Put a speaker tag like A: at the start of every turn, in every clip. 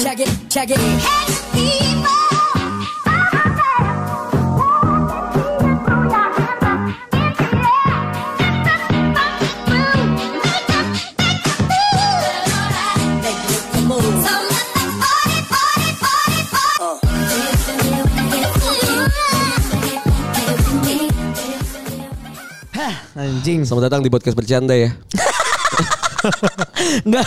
A: Shaggy. Make you look move.
B: Anjing.
C: Selamat datang di podcast bercanda ya.
B: Enggak.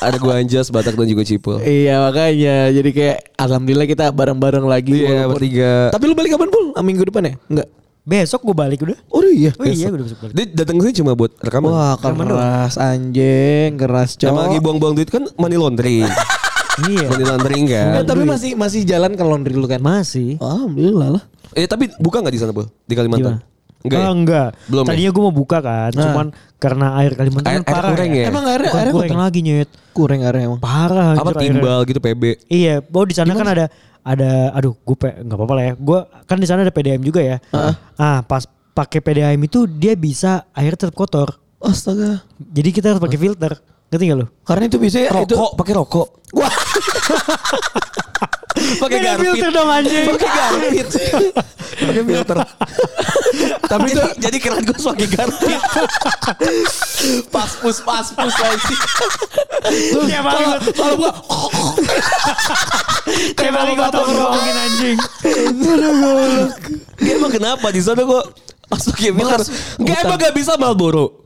C: Ada gua Anjas, Batak dan juga Cipul.
B: iya makanya jadi kayak alhamdulillah kita bareng-bareng lagi.
C: Iya,
B: walaupun-
C: bertiga.
B: Tapi lu balik kapan pul? Ah, Minggu depan ya? Enggak.
D: Besok gue balik udah.
B: Oh iya.
D: Oh iya udah besok balik.
C: Dia datang ke sini cuma buat rekaman.
B: Wah keras anjing, keras cowok.
C: Sama lagi buang-buang duit kan money laundering.
D: Iya.
C: money laundering
B: Eh,
C: kan.
B: tapi masih masih jalan ke laundry lu kan?
D: Masih.
B: Alhamdulillah lah.
C: Eh tapi buka nggak di sana, Bu? Di Kalimantan? Enggak.
D: Enggak,
C: ya?
D: oh, enggak.
C: Belum. ya?
D: Tadinya gue mau buka kan, cuman karena air Kalimantan
C: Air-
D: kan
C: air
D: parah.
C: kurang ya?
B: Emang airnya-
D: Bukan
B: airnya
D: kurang
B: kotor?
D: lagi nyet.
B: Kurang area emang.
D: Parah.
C: Apa
D: anjir airnya.
C: timbal gitu PB?
D: Iya, bahwa di sana kan ada ada aduh gue pe, nggak apa-apa lah ya. Gue kan di sana ada PDAM juga ya. Ah, pas pakai PDAM itu dia bisa air tetap kotor.
B: Astaga.
D: Jadi kita harus pakai filter. Ngerti gak lu?
B: Karena itu biasanya itu
C: Rokok, pakai rokok. Wah. pakai
D: Beda
C: garpit.
D: filter dong anjing.
C: Pakai garpit. pakai filter. tapi itu jadi keran gue pakai garpit. paspus paspus lagi.
D: Tiap hari gua-
C: Kalau gua
D: tiap hari gua tongkrongin anjing.
C: dia emang kenapa di sana gua pas pakai filter. Gak emang gak bisa Marlboro.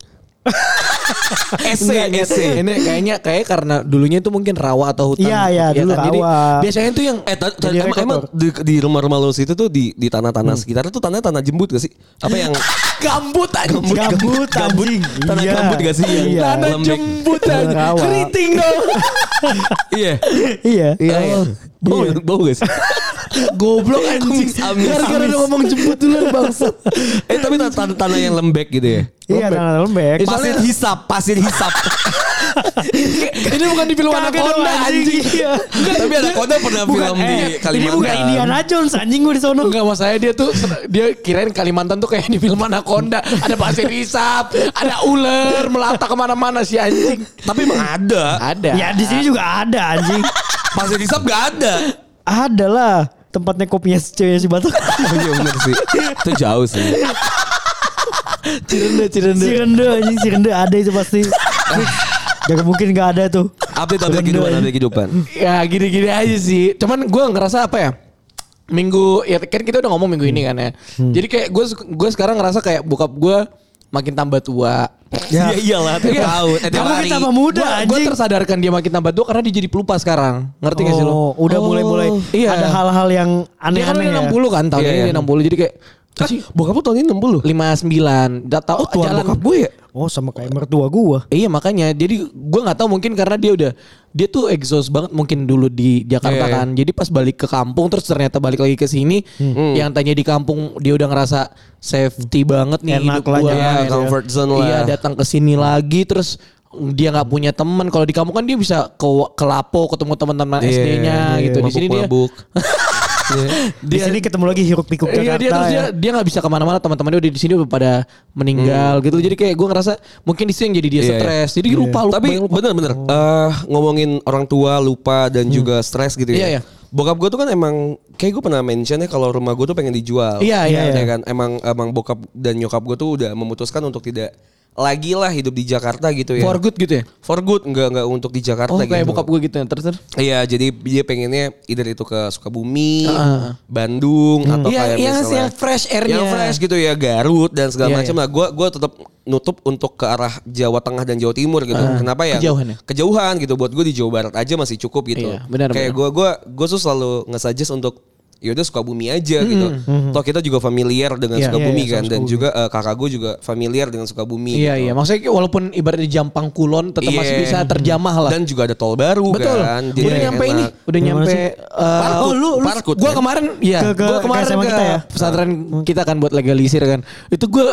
C: SC, SC.
B: Ini kayaknya kayak karena dulunya itu mungkin rawa atau hutan. kan?
D: Iya, iya, dulu
B: Jadi
D: rawa.
B: biasanya itu yang
C: Eh, ta- ta-
D: Jadi
C: emang,
D: air
C: emang di, di rumah-rumah lo situ tuh di di tanah-tanah sekitar itu tanah tanah jembut gak sih? Apa yang gambut anjing. Gambut,
D: Gambut, anjing.
C: Tanah
D: Iya.
C: gambut gak sih?
D: Iya.
C: Tanah
D: Lembek.
C: jembut
D: Tanah
C: anjing.
D: rawa.
C: Keriting dong. Iya.
D: Iya.
B: Iya, iya.
C: Oh, Bau, bau gak sih?
B: Goblok anjing.
C: Amis, amis,
B: Gara-gara
C: amis.
B: udah ngomong jemput duluan bangsat.
C: eh tapi tan- tanah tanah yang lembek gitu ya.
D: Iya,
B: Lembek.
D: tanah lembek.
B: Itu
C: Pasir
B: Soalnya-
C: hisap, pasir hisap.
B: Ini bukan di film
D: Kagak dong,
B: Anaconda
D: anjing.
B: anjing.
D: Iya.
C: tapi ada kode pernah film di
D: eh, ini
C: Kalimantan.
D: bukan Indiana Jones anjing gue di sono.
B: Enggak masalahnya dia tuh dia kirain Kalimantan tuh kayak di film Anaconda ada pasir hisap, ada ular melata kemana-mana si anjing.
C: Tapi emang ada.
B: Ada.
D: Ya di sini juga ada anjing.
C: Pasir hisap gak ada.
D: ada lah tempatnya kopinya si ceweknya si Batak.
C: Oh iya bener sih. Itu jauh sih.
B: Cirende, cirende.
D: si Rende anjing si Rende ada itu pasti. Gak mungkin gak ada tuh.
C: Update update kehidupan, update kehidupan.
B: Ya gini-gini aja sih. Cuman gue ngerasa apa ya? Minggu ya kan kita udah ngomong minggu ini kan ya.
D: Hmm.
B: Jadi kayak gue gue sekarang ngerasa kayak bokap gue makin tambah tua.
C: Ya iyalah tiap
B: Iya.
C: tahun, eh, tiap
D: Kamu
C: hari.
D: kita tambah muda
B: Gue
D: anjing.
B: tersadarkan dia makin tambah tua karena dia jadi pelupa sekarang. Ngerti gak sih lo?
D: Oh, udah
C: Oh,
D: mulai-mulai
B: iya.
D: ada hal-hal yang
B: Dia kan
D: aneh-aneh
B: udah
D: ya.
B: 60 kan tahun
C: Iya,
B: ini
C: iya.
B: dia 60 jadi kayak
C: Ah, bokap lu tahun ini 60.
B: 59 Udah tau
C: Oh, tua
B: jalan
C: bokap gue ya?
D: Oh sama kayak mertua gua.
B: Iya makanya jadi gue nggak tahu mungkin karena dia udah dia tuh exhaust banget mungkin dulu di Jakarta
C: Iya, iya.
B: kan. Jadi pas balik ke kampung terus ternyata balik lagi ke sini
C: Hmm.
B: yang tanya di kampung dia udah ngerasa safety banget nih
D: Enak
B: hidup
D: lah,
B: gua.
D: nyaman
C: gitu ya. comfort zone lah.
B: Iya datang ke sini lagi terus dia nggak punya teman. Kalau di kampung kan dia bisa ke ke Lapo ketemu teman-teman
C: Iya,
B: SD-nya
C: iya,
B: gitu. Di sini dia
C: mabuk-mabuk.
D: Di sini ketemu lagi hiruk pikuk
B: Iya
D: Jakarta.
B: dia terus
D: ya.
B: dia dia nggak bisa kemana-mana teman-temannya udah di sini udah pada meninggal gitu jadi kayak gue ngerasa mungkin di sini yang jadi dia
C: Hmm. Iya, iya.
B: stres jadi lupa lupa
C: Tapi
B: banyak lupa. Oh.
C: bener-bener eh, ngomongin orang tua lupa dan juga stres
B: Hmm.
C: gitu
B: Iya, iya.
C: ya. Bokap gue tuh kan emang kayak gue pernah mention ya kalau rumah gue tuh pengen dijual.
B: Iya, iya,
C: Ya
B: iya.
C: kan emang emang bokap dan nyokap gue tuh udah memutuskan untuk tidak lagi lah hidup di Jakarta gitu ya.
B: for good gitu ya
C: For good enggak enggak untuk di Jakarta
B: Oh kayak
C: gitu.
B: bokap gue gitu ya terus terus.
C: Iya, jadi dia pengennya either itu ke Sukabumi, Bandung atau
B: Iya,
C: Hmm. kayak
B: iya,
C: misalnya-
B: yang fresh airnya.
C: Yang fresh gitu ya, Garut dan segala
B: Iya,
C: macam. Nah, gua gua tetap nutup untuk ke arah Jawa Tengah dan Jawa Timur gitu. Kenapa ya?
B: Kejauhan ya?
C: Kejauhan gitu. Buat gue di Jawa Barat aja masih cukup gitu.
B: Iya, benar, benar.
C: kayak gua gua gua tuh selalu nge-suggest untuk "Ya Yaudah Sukabumi aja gitu. Toh kita juga familiar dengan
B: Hmm, Iya,
C: Sukabumi
D: iya, iya,
C: kan
D: sama
C: dan juga eh, kakak gue juga familiar dengan Sukabumi.
B: Iya
C: gitu.
B: iya maksudnya walaupun ibaratnya Jampang Kulon tetap masih
C: Iya.
B: bisa terjamah lah.
C: Dan juga ada tol baru
B: Betul.
C: kan. Jadi
B: udah nyampe
C: enak.
B: ini, udah
D: Gimana
B: nyampe
D: sih?
B: eh,
C: Parkut, parkut,
B: gua
C: kan?
B: kemarin iya,
D: Ke- ke-
B: gua
D: ke
B: kemarin
D: SMA
B: ke,
D: kita ya?
B: pesantren kita kan buat legalisir kan. Itu gua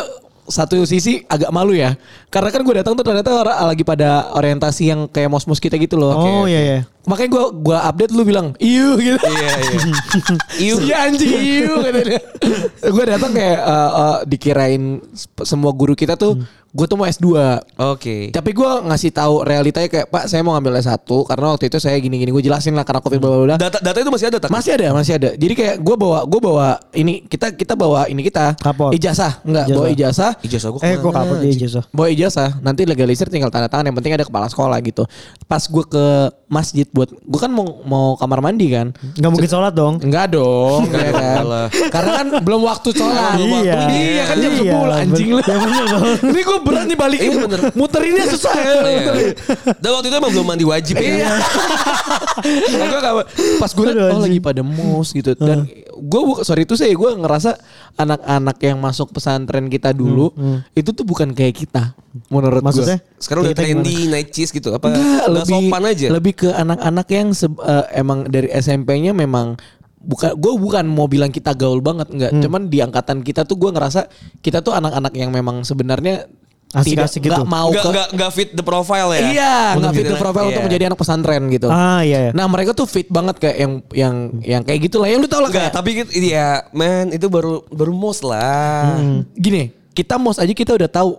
B: satu sisi agak malu ya. Karena kan gue datang tuh ternyata orang- lagi pada orientasi yang kayak mos-mos kita gitu loh.
D: Oh iya iya.
B: Makanya gua gua update lu bilang, "Iu" gitu.
C: Iya, iya.
B: Iu. Iya anjing
D: Hmm.
B: iu katanya. gue datang kayak eh, eh, dikirain sp- semua guru kita tuh gue tuh mau S2.
C: Oke.
B: Tapi gue ngasih tahu realitanya kayak Pak saya mau ngambil S1 karena waktu itu saya gini-gini gue jelasin lah karena covid bla bla bla.
C: Data data itu masih ada tak?
B: Masih ada, masih ada. Jadi kayak gue bawa gue bawa ini kita kita bawa ini kita
D: Rapor.
B: ijazah enggak
D: Ijazah.
B: bawa ijazah
C: Ijazah gue
D: Eh kok kapal dia jasa.
B: bawa ijazah nanti legalisir tinggal tanda tangan yang penting ada kepala sekolah gitu pas gue ke masjid buat gue kan mau mau kamar mandi kan
D: Gak mungkin sholat dong.
B: Enggak dong
C: Enggak
B: ya
C: dong,
B: kan?
C: salah.
B: Karena kan belum waktu sholat
D: Iya.
B: Waktu- Iya kan jam
D: Iya,
B: 10 anjing lu
D: bener. Ya, bener dong.
B: Ini gue berani balikin
C: Iya, bener. Iya,
B: Muterinnya susah ya muterin.
C: Dan waktu itu emang belum mandi wajib
B: Iya.
C: ya.
B: Nah, gua nggak- pas gue
D: Aduh,
B: oh
D: anjing.
B: lagi pada mus gitu dan gue sorry itu saya gue ngerasa anak-anak yang masuk pesantren kita dulu itu tuh bukan kayak kita menurut
D: Hmm, Maksudnya?
B: gue.
C: Sekarang udah
D: Kita gimana?
C: trendy naik cheese gitu apa?
B: Enggak,
C: nggak
B: lebih
C: sopan aja.
B: lebih ke anak-anak yang se- eh, emang dari SMP-nya memang bukan gue bukan mau bilang kita gaul banget enggak
D: Hmm.
B: cuman di angkatan kita tuh gue ngerasa kita tuh anak-anak yang memang sebenarnya
D: Asik-asik
B: tidak
D: gitu.
B: nggak mau
C: Enggak
B: ke
C: enggak enggak fit the profile ya.
B: iya nggak fit
C: gitu
B: the profile untuk menjadi anak pesantren gitu
D: Ah iya. iya.
B: Nah mereka tuh fit banget kayak yang yang yang kayak gitulah ya lu tau lah
C: Enggak,
B: kayak
C: tapi gitu- iya, man itu baru baru most
B: Hmm.
C: lah.
D: Hmm.
B: gini kita mos aja kita udah tahu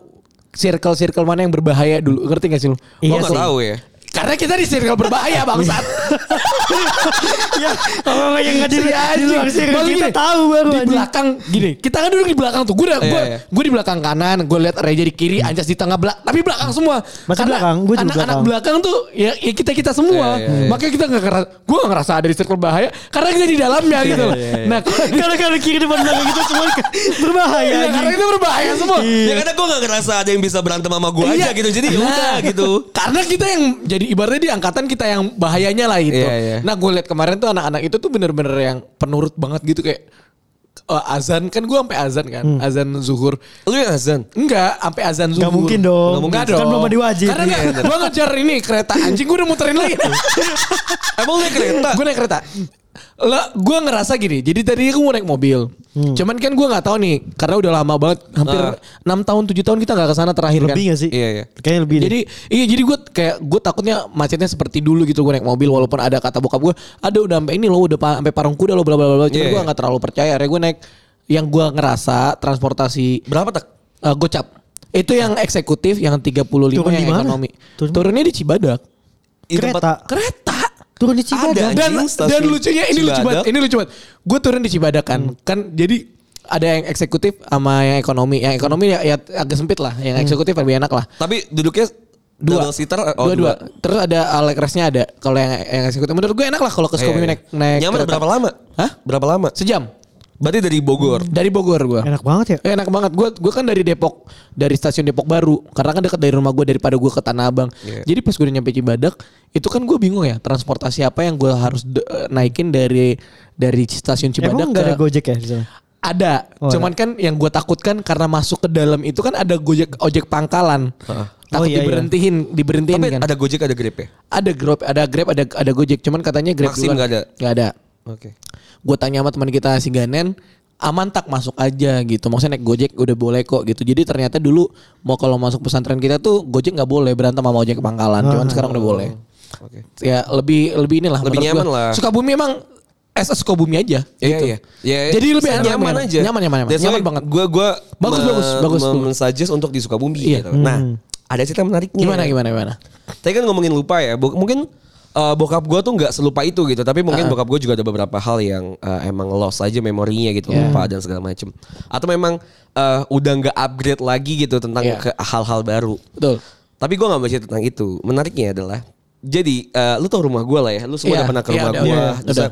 B: circle circle mana yang berbahaya dulu ngerti gak sih lu?
C: Gua
D: Iya
C: nggak
D: sih.
C: tahu ya.
B: Karena kita di circle berbahaya bangsat.
D: Iya. Orang yang nggak di
B: Si
D: di
B: anjing.
D: luar sih
B: Maksud
D: kita
B: gini,
D: tahu baru
B: di
D: anjing.
B: belakang gini kita kan duduk di belakang tuh gue
C: Iya,
B: gue
C: iya.
B: gue di belakang kanan gue lihat Reja di kiri Anjas di tengah belak tapi belakang semua
D: Hmm. Masih belakang, gua juga
B: anak anak
D: belakang.
B: belakang tuh ya, kita kita semua
C: Iya, iya, iya.
B: makanya kita nggak ngerasa gue nggak ngerasa ada di circle bahaya karena kita di dalamnya
D: Iya,
B: gitu loh nah
D: Kalau kalau kiri depan belakang kita semua ke- berbahaya
B: iya, karena
D: anjing. Iya,
B: itu berbahaya semua
C: Ya karena gue gak ngerasa ada yang bisa berantem sama gue aja
B: Iya.
C: gitu. Jadi ya
B: Nah,
C: udah gitu.
B: Karena kita yang jadi ibaratnya di angkatan kita yang bahayanya lah itu.
C: Iya, iya.
B: Nah gue lihat kemarin tuh anak-anak itu tuh bener-bener yang penurut banget gitu kayak eh, azan kan gue sampai azan kan,
D: Hmm.
B: azan zuhur.
C: Lu yang azan.
B: Enggak, sampai azan zuhur.
D: Gak mungkin dong.
B: Gak mungkin
D: Kan
B: dong.
D: belum ada wajib.
B: Karena
D: Iya,
B: gak, gue ngejar ini kereta anjing gue udah muterin lagi.
C: Emang lu yang kereta?
B: gue naik kereta. Lah, gue ngerasa gini. Jadi tadi gue mau naik mobil.
D: Hmm.
B: Cuman kan gue nggak tahu nih, karena udah lama banget, hampir
C: Ah.
B: 6 tahun 7 tahun kita nggak ke sana terakhir kan.
D: Lebih gak sih?
C: Iya, iya.
D: Kayaknya lebih. deh.
B: Jadi iya jadi gue kayak gue takutnya macetnya seperti dulu gitu gue naik mobil walaupun ada kata bokap gue, ada udah sampai ini lo udah pa- sampai parung kuda lo bla bla bla. bla." Cuman
C: Iya,
B: gue
C: iya.
B: nggak terlalu percaya. Akhirnya gue naik yang gue ngerasa transportasi
C: Berapa tak?
B: eh, gocap itu yang eksekutif yang 35
D: Turun di
B: yang
D: mana?
B: ekonomi.
D: Turun di-
B: Turunnya di Cibadak.
C: Di tempat-
D: Kereta.
B: Kereta.
D: Turun di
C: Ada.
D: Cibadak.
B: Dan
C: anjing,
B: dan
C: stasiun
B: lucunya ini lucu banget,
C: Cibadak.
B: ini lucu banget. Gue turun di Cibadak kan. Kan jadi ada yang eksekutif sama yang ekonomi. Yang ekonomi ya, ya agak sempit lah, yang eksekutif lebih enak lah
C: Tapi duduknya
B: dua
C: double seater. eh, oh,
B: dua, dua terus ada alek resnya ada kalau yang yang eksekutif menurut gue enak lah kalau ke
C: Iya,
B: Sukabumi
C: iya.
B: naik naik
C: Nyaman
B: kereta.
C: berapa lama?
B: Hah?
C: Berapa lama?
B: sejam
C: Berarti dari Bogor.
B: dari Bogor gue enak.
D: Enak banget ya.
B: enak banget gue gue kan dari Depok dari stasiun Depok Baru karena kan dekat dari rumah gue daripada gue ke Tanah Abang
C: Iya.
B: jadi pas gue udah nyampe Cibadak itu kan gue bingung ya transportasi apa yang gue harus de- naikin dari dari stasiun Cibadak
D: Emang gak ada
B: ke-
D: gojek ya di sana?
B: ada,
D: Oh,
B: cuman kan yang gue takutkan karena masuk ke dalam itu kan ada gojek ojek pangkalan, takut
D: Oh, iya, iya.
B: diberhentiin, diberhentiin
C: Tapi
B: kan.
C: ada Gojek, ada Grab ya?
B: ada Grab, ada Grab, ada ada Gojek. Cuman katanya Grab
C: Maxim
B: duluan.
C: nggak ada?
B: Nggak ada.
C: Oke.
B: Gue tanya sama teman kita si Ganen, aman tak masuk aja gitu. Maksudnya naik Gojek udah boleh kok gitu. Jadi ternyata dulu mau kalau masuk pesantren kita tuh Gojek nggak boleh berantem sama ojek pangkalan. Cuman sekarang udah boleh.
C: Oke.
B: Ya lebih lebih inilah.
C: Lebih
B: menurut
C: nyaman
B: gua.
C: lah.
B: Sukabumi emang es Sukabumi aja.
C: Iya,
B: gitu.
C: iya. Iya, iya.
B: Jadi lebih enak,
C: nyaman aja.
B: Nyaman nyaman nyaman.
C: That's
B: Nyaman
C: why
B: banget.
C: Gua gua
B: Bagus,
C: me-
B: bagus, bagus,
C: me-
B: bagus.
C: men-suggest untuk di Sukabumi
B: Iya.
C: gitu. Nah, ada cerita menariknya.
B: Gimana gimana gimana.
C: Tadi kan ngomongin lupa ya, bo- mungkin eh, bokap gue tuh nggak selupa itu gitu,
B: Ah.
C: tapi mungkin bokap gue juga ada beberapa hal yang eh, emang lost aja memorinya gitu, lupa dan segala macem. Atau memang eh, udah nggak upgrade lagi gitu tentang
B: Iya.
C: ke- hal-hal baru.
B: Betul.
C: Tapi gue nggak baca tentang itu. Menariknya adalah, jadi eh, lu tau rumah gue lah ya, lu semua
B: Iya,
C: udah pernah ke
B: iya,
C: rumah
B: udah,
C: gue.
B: udah,
C: Terus, eh,
B: udah.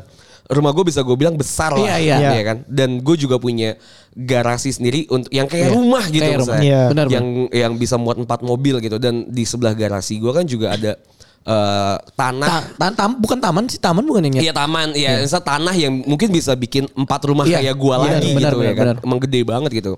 C: Rumah gue bisa gue bilang besar lah,
B: Iya, iya.
C: iya kan. Dan gue juga punya garasi sendiri untuk yang kayak
B: Iya,
C: rumah gitu,
B: kayak rumah.
C: misalnya.
D: Iya.
B: Benar, benar.
C: yang yang bisa muat empat mobil gitu dan di sebelah garasi gua kan juga ada eh, tanah
B: Ta- ya. ta- tam- bukan taman sih taman bukan yang
C: Iya taman, iya misal tanah yang mungkin bisa bikin empat rumah
B: Iya,
C: kayak gua
B: iya,
C: lagi
B: benar,
C: gitu ya
B: benar,
C: kan,
B: benar.
C: emang gede banget gitu.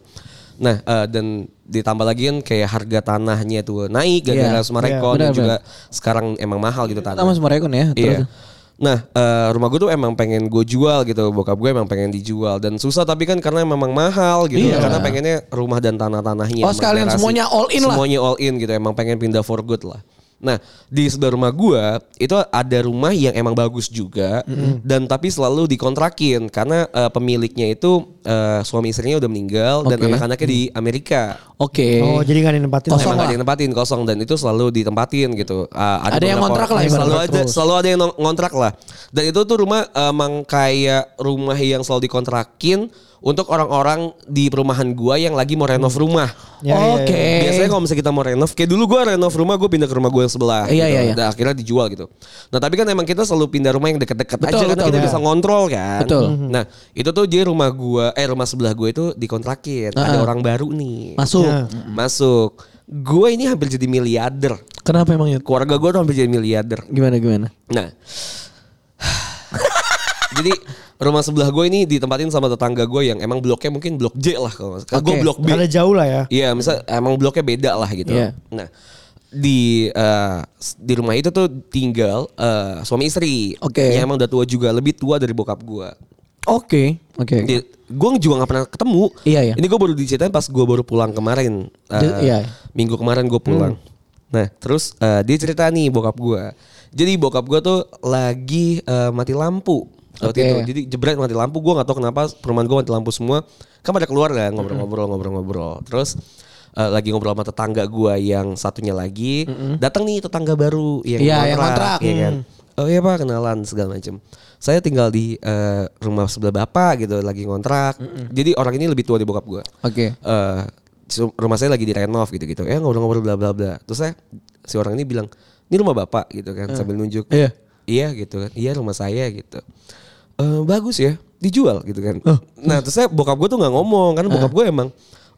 C: Nah eh, dan ditambah lagi kan kayak harga tanahnya tuh naik gara-gara
B: Iya,
C: semua
B: iya,
C: rekor
B: benar,
C: dan juga sekarang emang mahal gitu tanah.
B: Taman Sumarekon ya. Terus.
C: Iya. Nah, eh, rumah gue tuh emang pengen gue jual gitu. Bokap gue emang pengen dijual dan susah tapi kan karena memang mahal gitu.
B: Iya.
C: Karena pengennya rumah dan tanah-tanahnya.
B: Oh,
C: sama
B: sekalian semuanya all in lah.
C: Semuanya all in gitu. Emang pengen pindah for good lah. Nah, di sebelah rumah gua itu ada rumah yang emang bagus juga dan tapi selalu dikontrakin karena eh, pemiliknya itu eh, suami istrinya udah meninggal dan
B: Oke.
C: anak-anaknya di Amerika.
B: Oke.
D: Oh jadi nggak ada yang nempatin
B: Kosong
C: Emang
B: lah.
C: gak ditempatin kosong dan itu selalu ditempatin gitu. Ah,
B: Ada yang
C: beberapa
B: ngontrak
C: orang-
B: lah ibaratnya
C: Selalu ada,
B: terus.
C: selalu ada yang nong- ngontrak lah. Dan itu tuh rumah emang kayak rumah yang selalu dikontrakin untuk orang-orang di perumahan gua yang lagi mau renov rumah.
D: Ya, ya,
B: Oke.
C: Biasanya kalau misalnya kita mau renov, kayak dulu gua renov rumah gue pindah ke rumah gue yang sebelah.
B: Iya,
C: gitu.
B: iya, iya.
C: Dan akhirnya dijual gitu. Nah tapi kan emang kita selalu pindah rumah yang deket-deket aja
B: Betul,
C: karena
B: betul,
C: kita
B: betul.
C: bisa ngontrol kan.
B: Betul.
C: Nah itu tuh jadi rumah gua, eh rumah sebelah gue itu dikontrakin. Ada
B: Uh-uh.
C: orang baru nih.
B: Masuk.
D: Ya.
C: Masuk. Gue ini hampir jadi miliarder.
B: Kenapa emangnya?
C: Keluarga gue tuh hampir jadi miliarder.
B: Gimana gimana?
C: Nah. jadi rumah sebelah gue ini ditempatin sama tetangga gue yang emang bloknya mungkin blok J lah kalau nggak salah. Gue
B: Oke.
C: blok B.
D: Ada jauh lah ya.
C: Iya, misal emang bloknya beda lah gitu.
B: Iya.
C: Nah, di eh, s- di rumah itu tuh tinggal eh, suami istri.
B: Oke.
C: Yang emang udah tua juga, lebih tua dari bokap gua.
B: Oke. Oke.
C: Di, gue Iya, juga gak pernah ketemu.
B: Iya, iya.
C: Ini gue baru diceritain pas gue baru pulang kemarin. Eh,
B: Jadi, iya. Hmm.
C: Minggu kemarin gue pulang. Nah terus eh, dia cerita nih bokap gue. Jadi bokap gue tuh lagi eh, mati lampu. Waktu
B: Oke.
C: itu. Jadi jebret mati lampu. Gue gak tahu kenapa perumahan gue mati lampu semua. Kan pada keluar kan
B: Hmm.
C: ngobrol-ngobrol ngobrol-ngobrol. Terus eh, lagi ngobrol sama tetangga gue yang satunya lagi. Datang nih tetangga baru yang
B: Hmm. Iya, yang kontrak.
C: ya kan. Oh iya pak kenalan segala macam. Saya tinggal di eh, rumah sebelah bapak gitu lagi ngontrak. Jadi orang ini lebih tua di bokap gue.
B: Oke.
C: Eh, su- rumah saya lagi direnov gitu gitu. Ya ngobrol-ngobrol bla bla bla. Terus saya si orang ini bilang ini rumah bapak gitu kan sambil nunjuk.
B: Iya.
C: Iya gitu kan. Iya rumah saya gitu. Eh bagus ya dijual gitu kan.
B: Eh.
C: Nah terus saya bokap gue tuh nggak ngomong karena bokap gue emang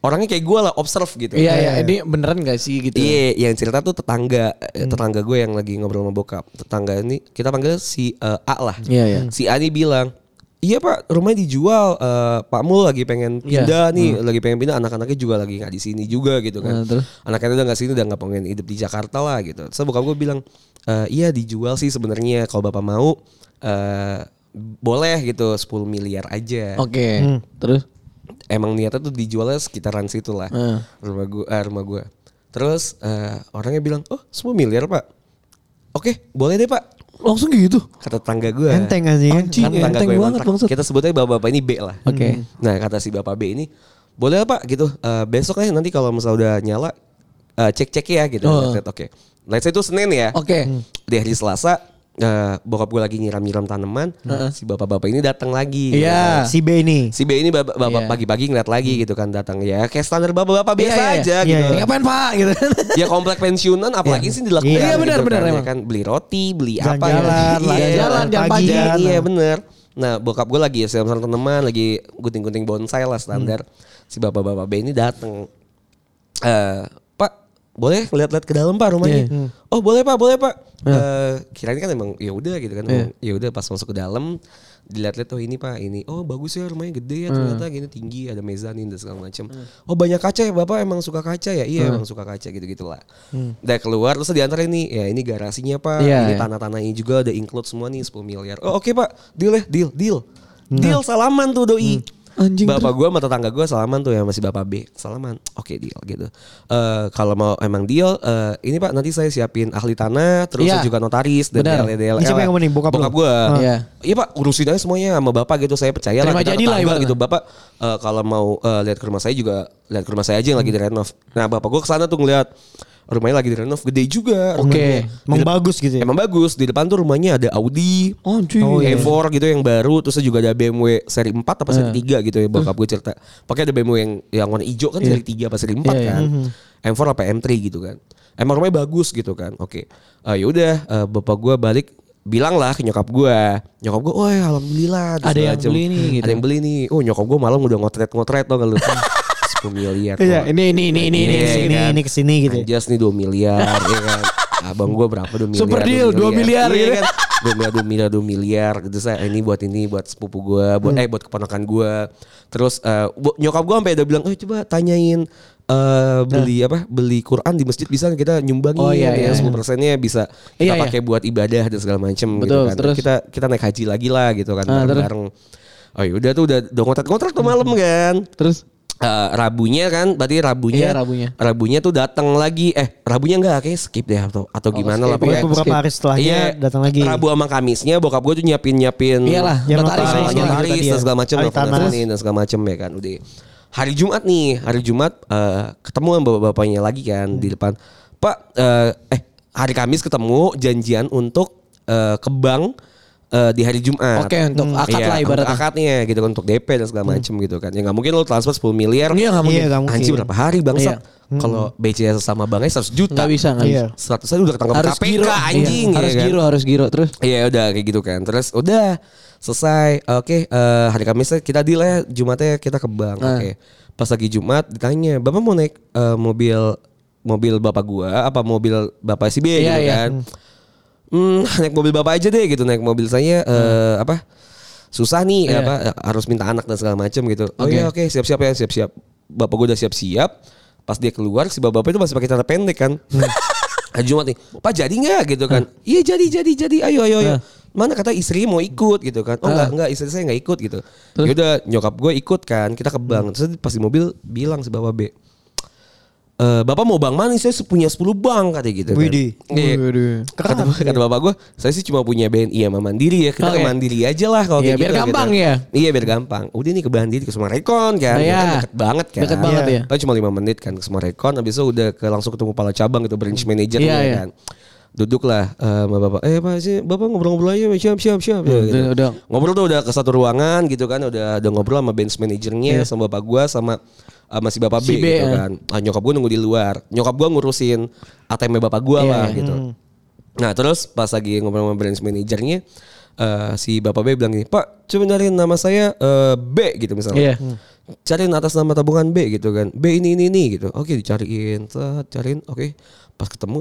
C: orangnya kayak gue lah observe gitu.
B: Iya iya. Ini beneran gak sih gitu? Hmm.
C: Iya, yang cerita tuh tetangga, eh, tetangga gue yang lagi ngobrol sama bokap. Tetangga ini kita panggil si eh, A lah.
B: Iya, iya.
C: Si A ini bilang, "Iya, Pak, rumahnya dijual. Eh, Pak Mul lagi pengen
B: Iya.
C: pindah nih, lagi pengen pindah. Anak-anaknya juga lagi nggak di sini juga gitu
B: Nah,
C: kan.
B: terus?
C: Anak-anaknya udah nggak sini, udah nggak pengen hidup di Jakarta lah gitu." Terus bokap gue bilang, "Eh, iya dijual sih sebenarnya kalau Bapak mau eh boleh gitu 10 miliar aja."
B: Oke. Terus?
C: emang niatnya tuh dijualnya sekitaran situ lah
B: Heeh.
C: rumah gua eh, rumah gua terus eh, orangnya bilang oh 10 miliar pak oke boleh deh pak
B: Langsung gitu.
C: kata tetangga gua
D: Enteng anjing.
B: Anjing.
C: Kan tetangga
B: enteng
C: gua yang
B: banget,
C: kontrak.
B: bangsat.
C: kita sebutnya bapak-bapak ini B lah
B: Oke.
C: nah kata si bapak B ini boleh lah, pak gitu Eh, besok deh nanti kalau misalnya udah nyala cek cek ya gitu
B: Oh.
C: Set, oke let's say itu senin ya
B: Oke.
C: di hari Selasa eh, bokap gue lagi nyiram-nyiram tanaman, si bapak-bapak ini datang lagi.
B: Iya.
D: Si B ini.
C: Si B ini bab-
B: Iya.
C: bapak pagi-pagi ngeliat lagi gitu kan datang ya kayak standar bapak-bapak biasa
B: Iya, iya,
C: aja
D: iya.
C: gitu.
D: Iya,
B: Ngapain pak? Gitu.
C: Ya komplek pensiunan apalagi sih dilakukan
B: Iya,
C: gitu
B: benar,
C: kan,
B: benar,
C: ya
B: emang.
C: kan beli roti, beli apa
D: Jalan-jalan,
C: ya. Iya,
B: jalan-jalan, jam pagi.
C: Iya,
D: Jalan.
C: iya bener. Nah, bokap gue lagi ya sama teman lagi gunting-gunting bonsai lah standar. Si bapak-bapak B ini datang. Eh, Pak, boleh lihat-lihat ke dalam Pak rumahnya?
B: Iya.
C: Oh, boleh Pak, boleh Pak. Eh, kirain kan emang ya udah gitu kan.
B: Iya.
C: Ya udah pas masuk ke dalam dilihat-lihat oh ini Pak, ini. Oh, bagus ya rumahnya gede ya
B: Iya.
C: ternyata gini tinggi, ada mezanin dan segala macam. Oh, banyak kaca ya Bapak emang suka kaca ya? Iya, emang suka kaca gitu-gitulah. Udah keluar terus diantar ini. Ya, ini garasinya Pak.
B: Iya,
C: ini
B: iya.
C: tanah-tanahnya juga udah include semua nih 10 miliar. Oh, oke Pak. Deal ya, deal, deal. Deal salaman tuh doi.
B: Nah. Hmm. Anjing,
C: Bapak gue sama tetangga gue salaman tuh ya masih bapak B salaman oke deal gitu Eh kalau mau emang deal eh, ini pak nanti saya siapin ahli tanah terus
B: Iya.
C: saya juga notaris dan
B: Benar.
C: DL, DL,
D: Ini siapa yang ngomong nih? Bokap lu?
C: gue
B: Ah. Iya.
C: iya pak urusin aja semuanya sama bapak gitu saya percaya
B: Terima
C: kita
B: jadilah
C: tetangga
B: ibaratnya.
C: gitu bapak eh, kalau mau eh, lihat ke rumah saya juga lihat ke rumah saya aja yang
B: Hmm.
C: lagi direnov nah bapak gue kesana tuh ngeliat rumahnya lagi direnov gede juga
B: Oke.
C: rumahnya.
D: Emang bagus gitu ya.
C: Emang bagus di depan tuh rumahnya ada Audi,
B: Oh, cuy.
C: Oh, E4 gitu yang baru, terus juga ada BMW seri 4 apa
B: Eh.
C: seri 3 gitu ya bokap gue cerita. Pakai ada BMW yang yang warna hijau kan seri 3 apa seri 4
B: Iya, iya.
C: kan. M4 apa M3 gitu kan. Emang rumahnya bagus gitu kan. Oke. Eh, ya udah eh, bapak gue balik bilang lah ke nyokap gue nyokap gue, oh alhamdulillah terus
B: Ada yang
C: macem.
B: beli nih, gitu.
C: ada yang beli nih, oh nyokap gue malam udah ngotret ngotret tau gak lu, 10 miliar,
D: Iya,
B: Ini ini ini ini. ini.
C: Iya,
D: Kesini,
C: kan?
D: ini kesini
B: ya.
D: gitu.
C: Anjas nih 2 miliar ya kan. Abang gua berapa 2 miliar.
B: Super deal, 2 miliar,
C: Iya
B: gitu.
C: kan. 2 miliar, 2 miliar, 2 miliar gitu saya ini buat ini buat sepupu gua,
B: Hmm.
C: buat eh buat keponakan gua. Terus eh, bu- nyokap gua sampai udah bilang, "Eh coba tanyain eh beli apa? Beli Quran di masjid bisa nggak kita nyumbangin
B: Oh, iya, iya,
C: ya 10%-nya bisa kita
B: Iya, iya.
C: pakai buat ibadah dan segala macem gitu
B: Betul,
C: kan.
B: terus?
C: Kita kita naik haji lagi lah gitu kan
B: Ah, terus? Hmm.
C: bareng-bareng. Oh ya udah tuh udah udah kontrak-kontrak tuh malam kan.
B: Terus?
C: eh, Rabunya kan berarti Rabunya
B: Iya, Rabunya.
C: tuh datang lagi eh Rabunya enggak kayak skip deh atau atau gimana lah
B: skip,
C: pokoknya.
B: ya.
D: beberapa hari setelahnya
C: Iya,
D: datang lagi.
C: Rabu sama Kamisnya bokap gue tuh nyiapin nyiapin
B: Iyalah,
D: Yang
B: notaris
D: notaris,
B: semuanya.
D: yang
C: notaris
D: tadi
C: dan
D: ya.
C: segala macam
D: Hari
C: telepon
D: tanah.
C: teleponin dan segala macam ya kan udah hari Jumat nih hari Jumat eh, ketemu sama bapak-bapaknya lagi kan di depan Pak eh, eh hari Kamis ketemu janjian untuk eh, ke bank eh, di hari Jumat
B: Oke, untuk akad
C: Iya,
B: lah
C: untuk
B: ibaratnya. Hmm.
C: akadnya gitu kan, untuk DP dan segala macam gitu kan ya nggak mungkin lo transfer 10 miliar
B: Iya, nggak mungkin.
D: Iya, nggak mungkin.
C: anjir berapa hari
B: Iya. Hmm.
C: bangsat kalau BCS sama banknya 100 juta
B: Nggak bisa, nggak
D: Iya.
B: bisa.
C: 100 aja udah ketangkap
B: Harus
C: KPK
B: giro,
C: anjing
B: iya. harus
C: ya kan?
B: giro, harus giro terus.
C: Iya udah kayak gitu kan. Terus udah selesai. Oke eh, hari Kamis kita deal ya. Jumatnya kita ke bank.
B: Ah.
C: Oke. Pas lagi Jumat ditanya bapak mau naik eh, mobil mobil bapak gua apa mobil bapak si B
B: Iya,
C: gitu
B: iya.
C: kan. Hmm, naik mobil bapak aja deh gitu naik mobil saya eh, apa susah nih
B: Hmm. Iya.
C: apa harus minta anak dan segala macam gitu. Oh iya oke siap-siap ya siap-siap. Bapak gua udah siap-siap. Pas dia keluar si bapak-bapak itu masih pakai celana pendek kan.
D: Hmm.
C: Hari Jumat nih, Pak jadi nggak gitu kan? Iya jadi jadi jadi, ayo ayo ayo.
D: Hmm.
C: Mana kata istri mau ikut gitu kan? Oh nggak nggak istri saya nggak ikut gitu. Ya udah nyokap gue ikut kan, kita ke bank.
D: Hmm.
C: Terus pas di mobil bilang si bapak B, "Eh, bapak mau bank mana? Saya punya 10 bank katanya gitu. Kan.
D: Widih.
C: Iya. Kata, kata bapak gue, saya sih cuma punya BNI sama Mandiri ya. Kita ke
B: Oke.
C: Mandiri aja lah kalau
B: Iya,
C: kayak
B: biar
C: gitu,
B: gampang
C: gitu.
B: ya.
C: Iya biar gampang. Udah nih ke Mandiri ke Summarecon kan.
B: Nah,
C: Itu
B: ya.
C: kan deket banget kan.
B: Deket banget,
D: Iya.
B: ya.
C: Tapi cuma lima menit kan ke Summarecon habis itu udah ke langsung ketemu kepala cabang gitu branch manager
B: Iya,
C: gitu
B: iya.
C: kan. Duduklah eh, sama bapak. Eh Pak sih bapak ngobrol-ngobrol aja siap siap siap. Ya,
B: Hmm,
C: gitu.
B: udah, udah.
C: Ngobrol tuh udah ke satu ruangan gitu kan udah udah ngobrol sama bench manajernya sama bapak gua sama sama si bapak
B: Iya. Si B,
C: B, gitu
B: ya.
C: kan. Nah, nyokap gua nunggu di luar. Nyokap gua ngurusin ATM bapak gua
B: Iya,
C: lah
B: iya.
C: gitu. Nah terus pas lagi ngobrol sama branch manajernya eh, si bapak B bilang gini, Pak coba nyariin nama saya eh, B gitu
B: Iya.
C: misalnya. Cariin atas nama tabungan B gitu kan. B ini ini ini gitu. Oke dicariin, set, cariin. Oke pas ketemu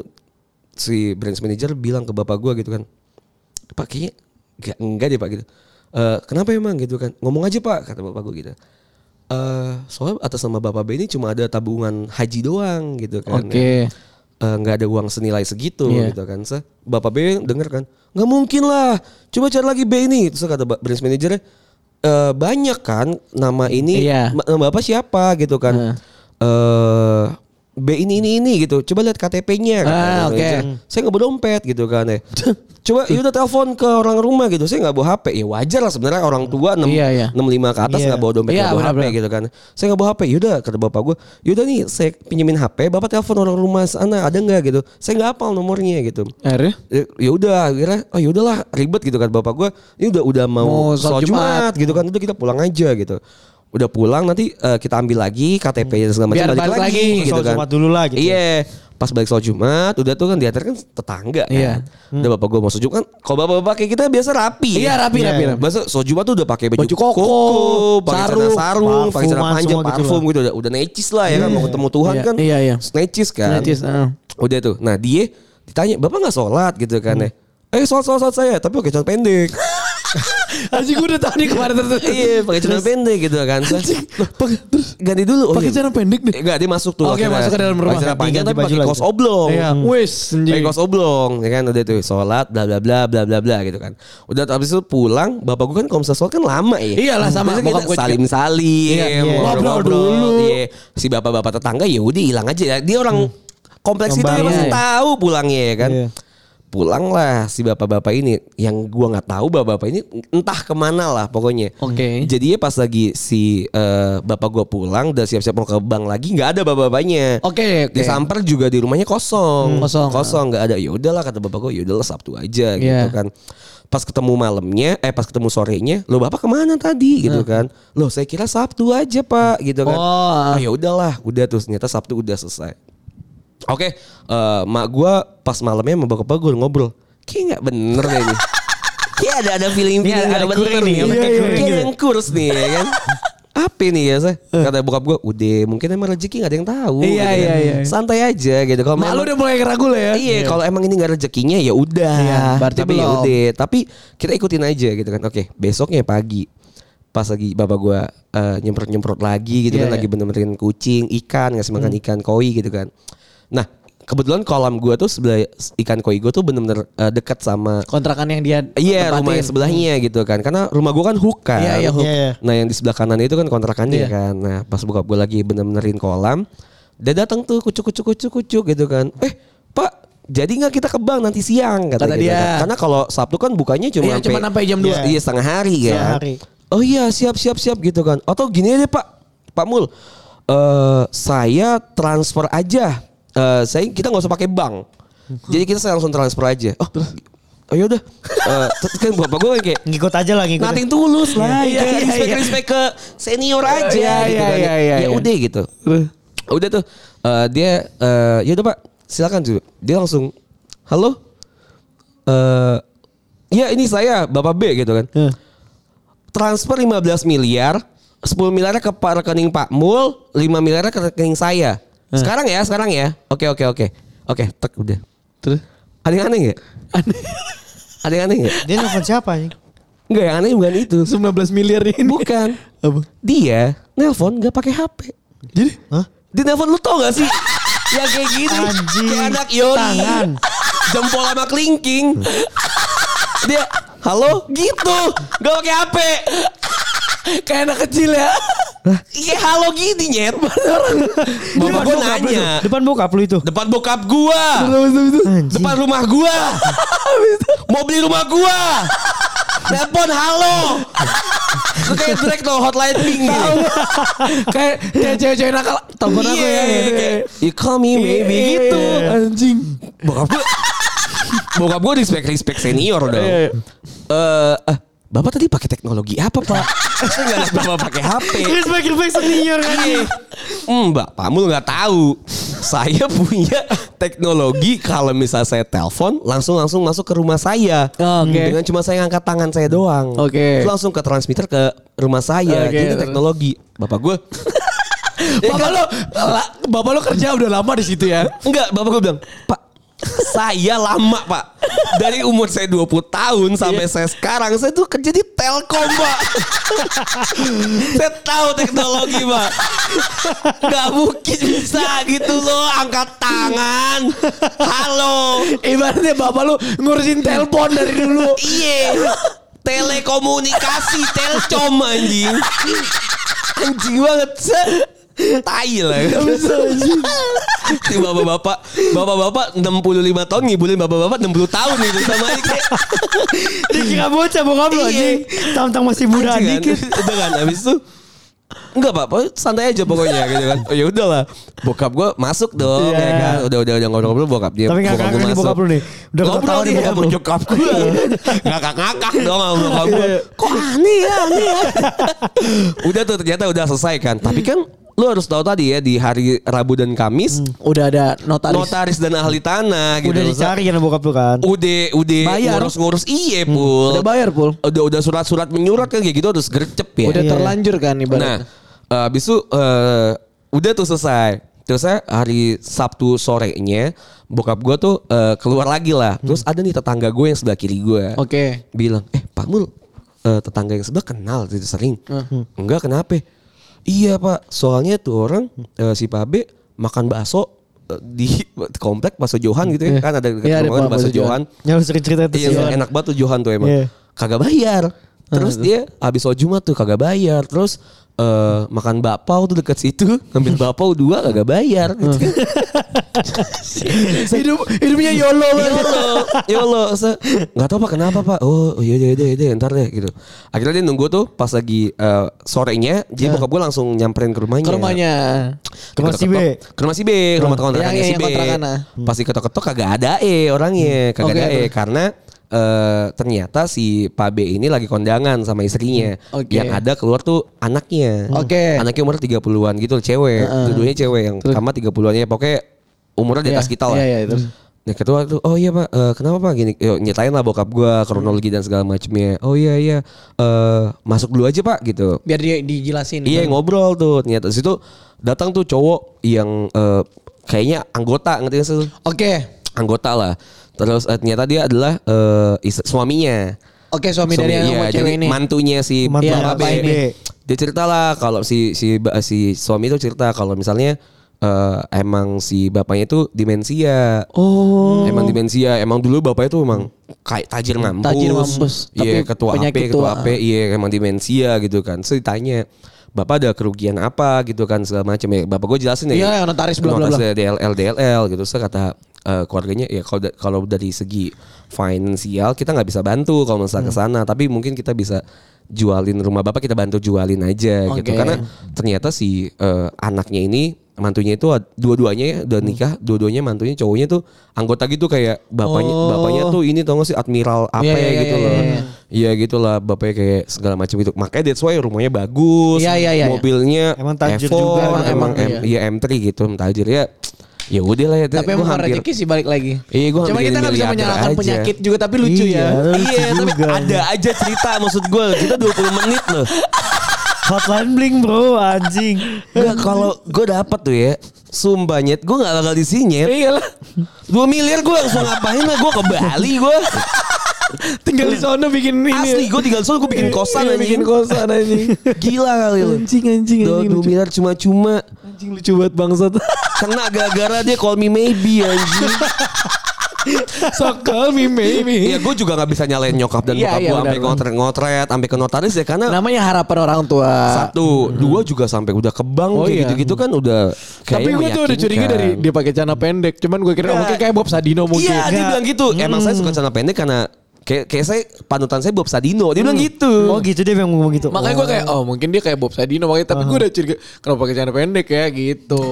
C: si branch manager bilang ke bapak gua gitu kan, Pak kayaknya enggak, enggak deh Pak gitu. Eh kenapa emang gitu kan? Ngomong aja Pak kata bapak gua gitu. Eh soalnya atas nama bapak B ini cuma ada tabungan haji doang gitu kan.
B: Oke.
C: Eh, nggak ada uang senilai segitu
B: Iya.
C: gitu kan. Se Bapak B denger kan, nggak mungkin lah. Coba cari lagi B ini. Terus kata ba- branch manajernya, "Eh, banyak kan nama ini,
B: Iya.
C: ma- nama bapak siapa gitu kan. Eh B ini ini ini gitu. Coba lihat KTP-nya. kata
B: Ah,
C: branch
B: oke.
C: manager. Saya nggak bawa dompet gitu kan ya. Coba yaudah telepon ke orang rumah gitu. Saya nggak bawa HP. Ya wajar lah sebenarnya orang tua 6,
B: Iya, iya.
C: 65 ke atas
D: Iya.
C: nggak bawa dompet
B: Iya,
C: nggak bawa HP
B: benar-benar.
C: gitu kan saya nggak bawa HP yaudah kata bapak gue yaudah nih saya pinjemin HP bapak telepon orang rumah sana ada nggak gitu saya nggak hafal nomornya gitu
B: Akhirnya?
C: Ya- ya udah akhirnya oh ya udahlah ribet gitu kan bapak gue ini udah udah
B: Mau
C: mau
B: sholat
C: sholat Jumat, gitu kan udah kita pulang aja gitu udah pulang nanti eh, kita ambil lagi KTP dan segala macam
B: Biar balik lagi.
C: gitu
D: Sholat
C: kan
D: Jumat dulu lah gitu.
C: iya pas balik sholat Jumat udah tuh kan diantar kan tetangga kan
B: Iya.
C: udah bapak gue mau sholat Jumat kan kalau bapak-bapak kayak kita biasa rapi
B: Iya,
C: ya.
B: rapi, rapi, rapi.
C: Masa sholat Jumat tuh udah pakai baju,
B: Baju koko,
C: pakai sarung,
B: sarung,
C: sarung pakai celana
D: parfuman
C: panjang,
D: semua gitu
C: parfum gitu, udah, udah necis lah ya kan mau ketemu Tuhan
B: Iya,
C: kan.
B: iya, iya.
C: Necis kan.
B: Necis, ah.
C: Udah tuh. Nah, dia ditanya, "Bapak nggak sholat gitu kan ya?" Eh sholat sholat sholat saya tapi pakai celana pendek.
B: Aji gue udah tahu nih kemarin terus.
C: iya pakai celana pendek gitu kan. Loh,
B: Pakai- Terus
C: Ganti dulu. Oh, iya.
B: pakai celana pendek deh.
C: Enggak dia masuk tuh.
B: Oke,
C: akhirnya.
B: masuk ke dalam rumah.
C: Pakai celana panjang
D: Ganti
C: tapi
D: baju
C: pakai
D: lagi.
C: kaos oblong. Uh,
B: Iya. Wes, anjing.
C: Pakai kaos oblong ya kan udah tuh sholat bla bla bla bla bla bla gitu kan. Udah habis itu pulang bapak gue kan kalau misalnya sholat kan lama ya.
B: Iyalah, sama.
C: Biasanya
B: Bokap
C: kita
B: gua juga.
C: salim salim
B: Iya, iya. Ngobrol dulu.
C: Iya. Si bapak-bapak tetangga ya udah hilang aja. Dia orang kompleks itu dia
D: Kembali.
C: pasti
B: Hmm. Iya.
C: tahu pulangnya ya kan.
D: Iya.
C: Pulang lah si bapak-bapak ini yang gua nggak tahu bapak-bapak ini entah kemana lah pokoknya.
B: Oke.
C: Jadi pas lagi si eh, bapak gua pulang udah siap-siap mau ke bank lagi nggak ada bapak-bapaknya.
B: Oke, oke.
C: Disamper juga di rumahnya kosong.
B: Hmm, kosong.
C: Kosong nggak ada. Ya udahlah kata bapak gua, ya udahlah Sabtu aja gitu
B: Iya.
C: kan. Pas ketemu malamnya, eh pas ketemu sorenya, lo bapak kemana tadi gitu kan? Loh saya kira Sabtu aja pak gitu kan.
B: Oh.
C: Ah, ya udahlah, udah terus ternyata Sabtu udah selesai. Oke, eh, mak gua pas malamnya sama bapak gue ngobrol. Kayak nggak bener deh ini. Kayak ada ada feeling
D: Ini ada-
C: feeling
D: ada
C: nggak bener
D: kuring
C: nih.
D: nih, ada
C: Iya, iya,
D: kuring
C: Kayak
D: juga.
C: yang kurs nih ya kan. Apa nih ya saya? Kata bokap gue, udah mungkin emang rezeki gak ada yang tahu.
B: Eh. Iya,
C: kan.
B: iya, iya.
C: Santai aja gitu. Kalau
B: Mak lu
C: memang-
B: udah mulai ragu lah ya.
C: Iya, kalau emang ini nggak rezekinya ya udah.
B: Iya, berarti
C: tapi ya
B: belum.
C: udah. Tapi kita ikutin aja gitu kan. Oke, besoknya pagi pas lagi bapak gua eh, nyemprot-nyemprot lagi gitu
B: Iya, Hmm.
C: kan
B: iya.
C: lagi bener-benerin kucing, ikan, ngasih makan ikan koi gitu kan. Nah, kebetulan kolam gua tuh sebelah ikan koi gua tuh bener-bener eh, dekat sama
B: kontrakan yang dia
C: Iya
B: tempatin. Hmm.
C: rumah yang sebelahnya gitu kan Karena rumah gua kan hook kan
B: Iya, iya, hook.
D: Iya, iya.
C: Nah yang di sebelah kanan itu kan kontrakannya
B: Iya.
C: kan Nah pas buka gue lagi bener-benerin kolam Dia datang tuh kucuk kucuk kucuk kucuk gitu kan Eh pak jadi nggak kita ke bank nanti siang kata,
B: Kata
C: gitu
B: dia.
C: kan. Karena kalau Sabtu kan bukanya cuma
B: Iya, cuma sampai jam dua.
C: Iya setengah hari kan
D: Setengah hari.
C: Oh iya siap siap siap gitu kan Atau gini deh pak Pak Mul eh Saya transfer aja Eh saya Kita nggak usah pakai bank Jadi kita saya langsung transfer aja Oh, oh yaudah Eh, Terus kan bapak gue kayak
D: Ngikut aja lah ngikut.
C: Nothing tulus
B: Iya,
C: lah. Iya,
B: iya,
C: respect,
B: iya.
C: respect ke senior aja
B: Iya,
C: gitu
B: iya,
C: kan.
B: iya, iya,
C: ya
B: iya.
C: udah gitu. Udah tuh eh, dia eh, ya udah Pak, silakan tuh. Dia langsung halo. Eh ya ini saya Bapak B gitu kan.
D: Heeh.
C: Transfer 15 miliar, 10 miliarnya ke pa- rekening Pak Mul, 5 miliarnya ke rekening saya. Sekarang ya, sekarang ya. Oke, oke, oke. Oke, tek udah.
B: Terus
C: Ada yang aneh enggak? Ada yang aneh enggak?
D: Dia nelfon siapa anjing?
C: Enggak, yang aneh bukan itu.
B: 19 miliar ini.
C: Bukan.
B: Apa?
C: Dia nelpon gak pakai HP.
B: Jadi
D: Hah?
C: Dia nelpon lu tau gak sih? ya kayak gini.
D: Anjing.
C: Kayak anak Yoni.
D: Tangan.
C: Jempol sama kelingking. Dia, halo? Gitu. Gak pakai HP.
B: kayak anak kecil ya.
C: Iya halo gini nyet. Bapak gue
D: bokap
C: nanya.
D: lu itu. Depan bokap lu itu.
C: Depan bokap gua.
D: Anjing.
C: Depan rumah gua. Mau beli rumah gua. Telepon halo. Lu kayak Drake tau hotline pink gitu.
B: kayak kayak cewek-cewek nakal telepon aku ya.
C: Iya,
B: gitu.
C: kayak, You call me maybe
B: Iya,
C: gitu.
B: Anjing.
C: Bokap gue Bokap gue respect respect senior dong.
B: Iya,
C: Eh
B: iya.
C: eh, Bapak tadi pakai teknologi apa, Pak? Saya enggak lihat Bapak pakai HP.
D: Respect respect senior kan?
B: kan?
C: Iya. Hmm, Mbak, Pak Mul nggak tahu. Saya punya teknologi kalau misalnya saya telepon langsung langsung masuk ke rumah saya.
B: Oh, oke.
C: Dengan cuma saya ngangkat tangan saya doang.
B: Oke.
C: Terus langsung ke transmitter ke rumah saya.
B: Oke,
C: Jadi
B: terus.
C: teknologi. Bapak Ya kan? gue
B: Bapak lo la- bapak lo kerja udah lama di situ ya.
C: Enggak, bapak gue bilang, Pak, saya lama pak. Dari umur saya 20 tahun sampai saya sekarang, saya tuh kerja di Telkom pak. saya tahu teknologi pak. Gak mungkin bisa gitu loh, angkat tangan. Halo.
B: Ibaratnya bapak lo ngurusin telepon dari dulu.
C: Iya. Telekomunikasi, telcom anjing. Anjing banget. Se tai lah. Ini bapak-bapak, bapak-bapak 65 tahun ngibulin bapak-bapak 60 tahun gitu sama ini kayak
D: Dia kira bocah bokap lu
C: Iya.
D: anjing. Tentang masih muda
C: anjing kan.
D: dikit.
C: Udah kan habis itu Enggak pak, pokoknya santai aja pokoknya gitu kan. Oh ya udahlah, bokap gue masuk dong
D: Iya.
C: ya kan. Udah udah udah ngobrol-ngobrol bokap dia.
D: Tapi nggak
C: bokap
D: ngakak
C: gua
D: nih
C: masuk.
D: bokap lu nih. Udah
C: ngobrol
D: ketawa nih
C: dia
D: bokap
C: sama
D: lu. Iya.
C: nyokap gue. Ngakak-ngakak dong sama bokap gue. Kok aneh ya, aneh ya. udah tuh ternyata udah selesai kan. Tapi kan lu harus tahu tadi ya di hari Rabu dan Kamis
B: Udah ada notaris.
C: notaris dan ahli tanah gitu.
D: Hmm. Udah dicari Hmm. kan bokap lu kan.
C: Udah udah
B: Bayar.
C: ngurus-ngurus iye pul.
B: Udah bayar, Pul.
C: Udah udah surat-surat menyurat kan kayak gitu harus gercep ya.
B: Udah
D: Iya.
B: terlanjur kan
C: Nah,
B: ibaratnya.
C: eh, abis itu eh, udah tuh selesai. Terus saya hari Sabtu sorenya bokap gue tuh eh, keluar lagi lah. Terus ada nih tetangga gue yang sebelah kiri gue.
B: Hmm. Oke.
C: Bilang, eh Pak Mul, eh, tetangga yang sebelah kenal itu sering.
B: Hmm.
C: Enggak kenapa? Iya Pak, soalnya tuh orang
B: Hmm.
C: eh, si Pak B makan bakso eh, di komplek bakso Johan gitu ya
B: Iya.
C: kan ada dekat
B: Iya, ada
C: rumah kan bakso
B: bakso Johan.
C: Johan.
D: Ya lu sering cerita itu
C: Iya,
D: sih.
C: enak banget tuh Johan tuh emang.
D: Iya.
C: Kagak bayar. Terus dia habis sholat Jumat tuh kagak bayar. Terus eh, makan bakpao tuh dekat situ, ngambil bakpao dua kagak bayar. Gitu.
B: Hidup hidupnya YOLO lah.
C: Yolo, yolo, se- nggak tahu pak kenapa pak? Oh, iya iya iya iya, ntar deh gitu. Akhirnya dia nunggu tuh pas lagi eh, sorenya, jadi bokap gue langsung nyamperin ke rumahnya.
B: Ke rumahnya.
D: Ke rumah si B.
C: Ketok-ketok. Ke rumah si B, ke rumah kontrakannya
B: Yang-
C: si
B: yang
C: B.
B: kontrakannya.
C: Pasti ketok-ketok kagak ada eh orangnya, kagak
B: ah. Hmm. Oke,
C: ada eh
B: terus.
C: karena eh, ternyata si Pak B ini lagi kondangan sama istrinya.
B: Hmm. Oke.
C: Yang ada keluar tuh anaknya.
B: Oke.
C: Anaknya umur 30-an gitu, cewek. Dua-duanya cewek yang sama 30-an ya pokoknya umurnya di atas
B: Iya,
C: kita lah.
B: iya, iya, terus.
C: Nah ketua tuh, oh iya pak, eh, kenapa pak gini? Yo, nyatain lah bokap gua kronologi dan segala macemnya. Oh iya iya, Eh, masuk dulu aja pak gitu.
B: Biar dia dijelasin.
C: Iya ngobrol tuh ternyata Di situ datang tuh cowok yang eh, kayaknya anggota ngerti nggak sih?
B: Oke.
C: Anggota lah. Terus eh, ternyata dia adalah eh, is- suaminya.
B: Oke suami dari
C: Suami-
B: yang
C: iya,
B: sama
C: jadi
B: cewek ini.
C: Mantunya si
D: Mantu
C: Bang
B: Bang
C: Abe.
B: Abe.
C: Dia cerita lah kalau si si ba- si suami itu cerita kalau misalnya eh, emang si bapaknya itu demensia.
B: Oh.
C: Emang demensia, emang dulu bapaknya tuh emang kayak tajir mampus.
B: Tajir mampus,
C: Iya,
B: tapi
C: ketua AP,
B: penyakit
C: ketua
B: tua.
C: AP, iya emang demensia gitu kan. Terus ditanya, Bapak ada kerugian apa gitu kan segala macam ya. Bapak gue jelasin ya.
B: Iya, yang notaris, bla, bla, bla.
C: Notarisnya DLL DLL gitu. Terus kata eh, keluarganya ya kalau da- kalau dari segi finansial kita nggak bisa bantu kalau
B: Hmm.
C: misalnya ke sana, tapi mungkin kita bisa jualin rumah Bapak kita bantu jualin aja gitu.
B: Oke.
C: Karena ternyata si eh, anaknya ini mantunya itu ad- dua-duanya ya
B: Hmm.
C: udah nikah dua-duanya mantunya cowoknya tuh anggota gitu kayak bapaknya bapaknya tuh ini tau gak sih admiral apa
B: Oh. Iya, iya,
C: gitu
B: iya,
C: loh
B: iya, iya.
C: iya gitu lah bapaknya kayak segala macam gitu makanya that's why rumahnya bagus
B: Iya, iya, iya, iya.
C: mobilnya
D: Emang tajir
C: F4,
D: juga.
C: emang, emang
B: Iya.
C: M- iya M3 gitu tajir ya ya udah lah ya
B: Tapi
C: gua
B: emang rezeki sih balik lagi.
C: Iya, gua
B: Cuma kita
C: hampir jadi
B: nggak bisa
C: miliarder
B: menyalahkan
C: aja.
B: penyakit juga tapi lucu
D: Iya,
B: ya.
D: lucu
C: iya tapi
D: juga.
C: ada aja cerita maksud gue kita 20 menit loh
D: Hotline bling bro anjing.
C: Gak kalau gue dapat tuh ya Sumbanyet gue gak bakal disinyet
B: Iyalah.
C: 2 miliar gue langsung ngapain lah gue ke Bali gue
B: Tinggal di sana bikin ini.
C: Asli gue tinggal di sana gue bikin kosan
B: Iya, bikin
C: anjing
B: kosan anjing.
C: Gila kali lu
B: Anjing anjing anjing.
C: 2
B: lucu.
C: miliar cuma-cuma
B: Iya, Anjing lucu banget bangsat.
C: Kena gara-gara dia call me maybe anjing
B: Sok call me
C: Iya
B: maybe.
C: gue juga gak bisa nyalain nyokap dan
B: Iya,
C: bokap
B: iya,
C: gue Sampai
B: benar,
C: ngotret-ngotret Sampai ke notaris ya karena
B: Namanya harapan orang tua.
C: Satu Dua juga sampai udah ke bank
B: Hmm. Oh,
C: kayak
B: iya.
C: gitu-gitu kan udah
B: Tapi
C: kayaknya
B: gue tuh udah curiga
C: meyakinkan.
B: dari dia pakai celana pendek. Cuman gue kira oh,
C: Nggak.
B: mungkin kayak Bob Sadino mungkin.
C: Iya dia
D: Nggak.
C: bilang gitu Emang
B: Hmm.
C: saya suka celana pendek karena Kayak, kayak saya panutan saya Bob Sadino dia
B: Hmm.
C: bilang gitu
D: Oh gitu dia yang ngomong gitu.
B: Makanya gue kayak oh mungkin dia kayak Bob Sadino makanya tapi gue udah curiga kenapa pakai celana pendek ya gitu.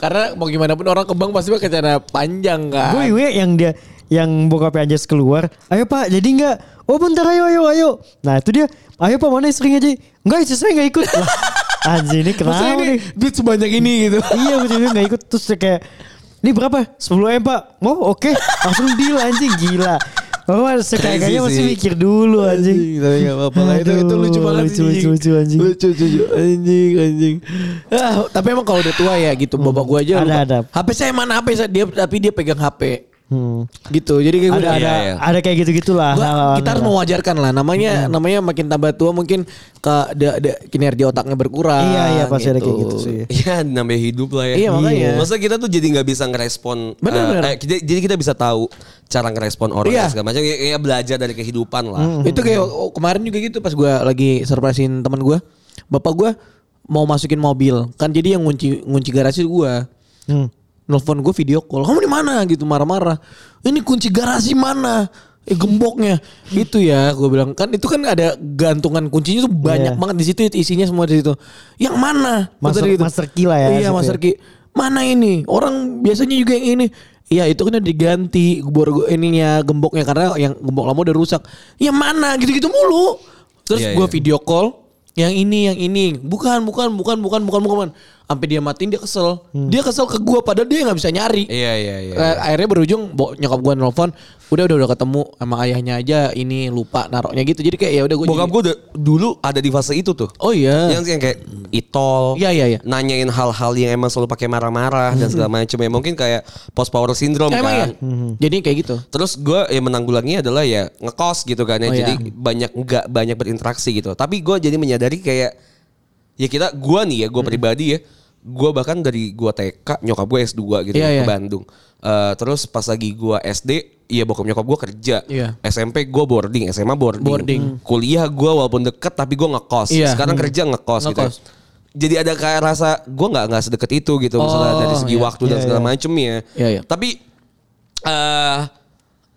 B: Karena mau gimana pun orang kebang pasti pakai celana panjang kan.
D: Gue gue Oh. yang dia yang bokapnya Anjas keluar, ayo pak jadi nggak? Oh bentar ayo ayo ayo. Nah itu dia, ayo pak mana istrinya aja? Enggak istri saya nggak ikut. Lah, anjing ini
B: Maksudnya ini
D: kenapa nih?
B: duit sebanyak ini gitu.
D: iya gue juga nggak ikut terus dia kayak ini berapa 10 m pak mau oke langsung deal anjing gila Oh,
C: Crazy sih.
D: sekayaknya masih mikir dulu Iya anjing.
B: Tapi gak apa-apa lah itu, itu lucu
D: Aduh,
B: banget
D: lucu, lucu, lucu, anjing.
B: Lucu lucu lucu. anjing anjing. Ah, tapi emang kalau udah tua ya gitu bapak gue aja
D: Hmm. Ada,
B: lupa.
D: ada.
B: HP saya mana HP saya dia tapi dia pegang HP. Gitu. Jadi kayak
D: Hmm. Ada
B: udah-
D: ada
C: iya.
D: ada kayak gitu-gitu lah. Nah,
B: Gua- kita
D: hal-hal aneh
B: harus
D: lah.
B: mewajarkan lah namanya namanya makin tambah tua mungkin ke da- da- kinerja otaknya berkurang
D: Iya, iya, pasti ada kayak gitu sih.
C: Iya namanya hidup lah ya
B: ya. Iya, makanya.
C: Maksudnya kita tuh jadi nggak bisa ngerespon
B: Bener,
C: eh,
B: bener.
C: eh, kita- Jadi kita bisa tahu Cara ngerespon orang
B: Iya.
C: dan segala macam ya, ya belajar dari kehidupan lah
B: itu kayak
D: Mm-hmm.
B: oh, kemarin juga gitu pas gua lagi surprisein teman gua bapak gua mau masukin mobil kan jadi yang ngunci ngunci garasi gua
D: Hmm.
B: nelfon gue video call kamu di mana gitu marah-marah ini kunci garasi mana eh, gemboknya itu ya gue bilang kan itu kan ada gantungan kuncinya tuh banyak
D: Iya.
B: banget di situ isinya semua di situ yang mana
D: Master-
B: Maksudnya
D: master key lah ya,
B: iya
D: situ
B: master
D: ya.
B: key mana ini orang biasanya juga yang ini Iya itu kan udah diganti bor ininya gemboknya karena yang gembok lama udah rusak. Ya mana gitu-gitu mulu. Terus
C: Iya,
B: gue
C: iya.
B: video call yang ini yang ini bukan bukan bukan bukan bukan bukan sampai dia matiin dia kesel dia kesel ke gua padahal dia nggak bisa nyari
C: Hmm. Iya iya iya
B: Eh, akhirnya berujung bo- nyokap gua nelfon udah udah udah ketemu sama ayahnya aja ini lupa naroknya gitu jadi kayak ya udah gua
C: Bokap
B: jadi-
C: gue dulu ada di fase itu tuh
B: oh iya
C: yang yang kayak itol,
B: Iya, iya, iya.
C: nanyain hal-hal yang emang selalu pakai marah-marah dan segala macam ya mungkin kayak post power syndrome
B: Emang ya?
C: kan.
B: jadi kayak gitu
C: Terus gue ya menanggulangi adalah ya ngekos gitu kan
B: Oh,
C: ya, jadi
B: iya.
C: banyak nggak banyak berinteraksi gitu. Tapi gue jadi menyadari kayak ya kita gue nih ya gue
B: Hmm.
C: pribadi ya, gue bahkan dari gue TK nyokap gue S 2 gitu
B: Iya,
C: ya,
B: iya.
C: ke Bandung. Eh, terus pas lagi gue SD Iya bokap nyokap gue kerja
B: Iya.
C: SMP gue boarding SMA boarding, Hmm.
B: Boarding.
C: Kuliah gue walaupun deket tapi gue ngekos
B: Iya.
C: Sekarang kerja ngekos, gitu ya.
B: Ngekos.
C: Jadi ada kayak rasa gue nggak nggak sedekat itu gitu misalnya
B: Oh,
C: dari segi
B: iya.
C: waktu dan
D: Iya,
C: segala
D: iya.
C: macemnya.
B: Iya, iya.
C: Tapi eh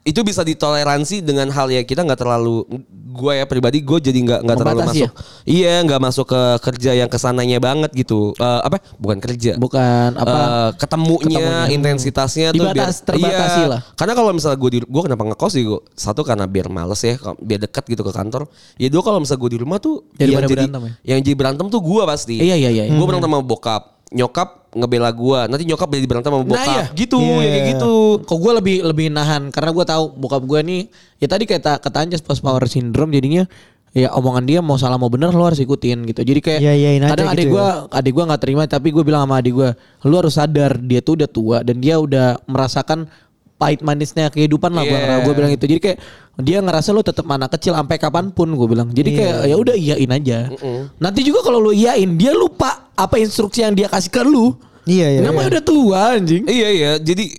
C: itu bisa ditoleransi dengan hal yang kita nggak terlalu gue ya pribadi gue jadi nggak nggak terlalu
B: Membatasi ya?
C: masuk iya nggak masuk ke kerja yang kesananya banget gitu Eh, apa bukan kerja
B: bukan apa
C: Eh, ketemunya, intensitasnya tuh iya.
B: Dibatas- terbatasi lah.
C: Karena kalau misalnya gue di gue kenapa ngekos sih gue satu karena biar males ya, kalau- biar dekat gitu ke kantor. Ya dua kalau misalnya gue di rumah tuh
B: Daripada
C: yang jadi
B: berantem ya?
C: yang jadi berantem tuh gue pasti.
B: Iya, iya, iya, iya.
C: Gue berantem sama bokap, nyokap ngebela gue. Nanti nyokap jadi berantem sama
B: Nah,
C: bokap.
B: iya.
C: Gitu,
D: Iya,
C: ya kayak
D: iya.
C: gitu.
B: Kok gue lebih lebih nahan karena gue tahu bokap gue nih ya tadi kata kata Anjas post power syndrome jadinya ya omongan dia mau salah mau bener lo harus ikutin gitu. Jadi kayak
D: Iya, iyain aja
B: kadang
D: gitu
B: adik
D: ya.
B: gue adik gue nggak terima tapi gue bilang sama adik gue lu harus sadar dia tuh udah tua dan dia udah merasakan pahit manisnya kehidupan lah
C: Iya.
B: gue bilang itu jadi kayak dia ngerasa lu tetap anak kecil sampai kapanpun gue bilang jadi
D: Iya.
B: kayak ya udah iyain aja nanti juga kalau lu iyain dia lupa apa instruksi yang dia kasih ke lu
D: Iya iya.
B: Namanya
D: iya.
B: udah tua anjing.
C: Iya iya. Jadi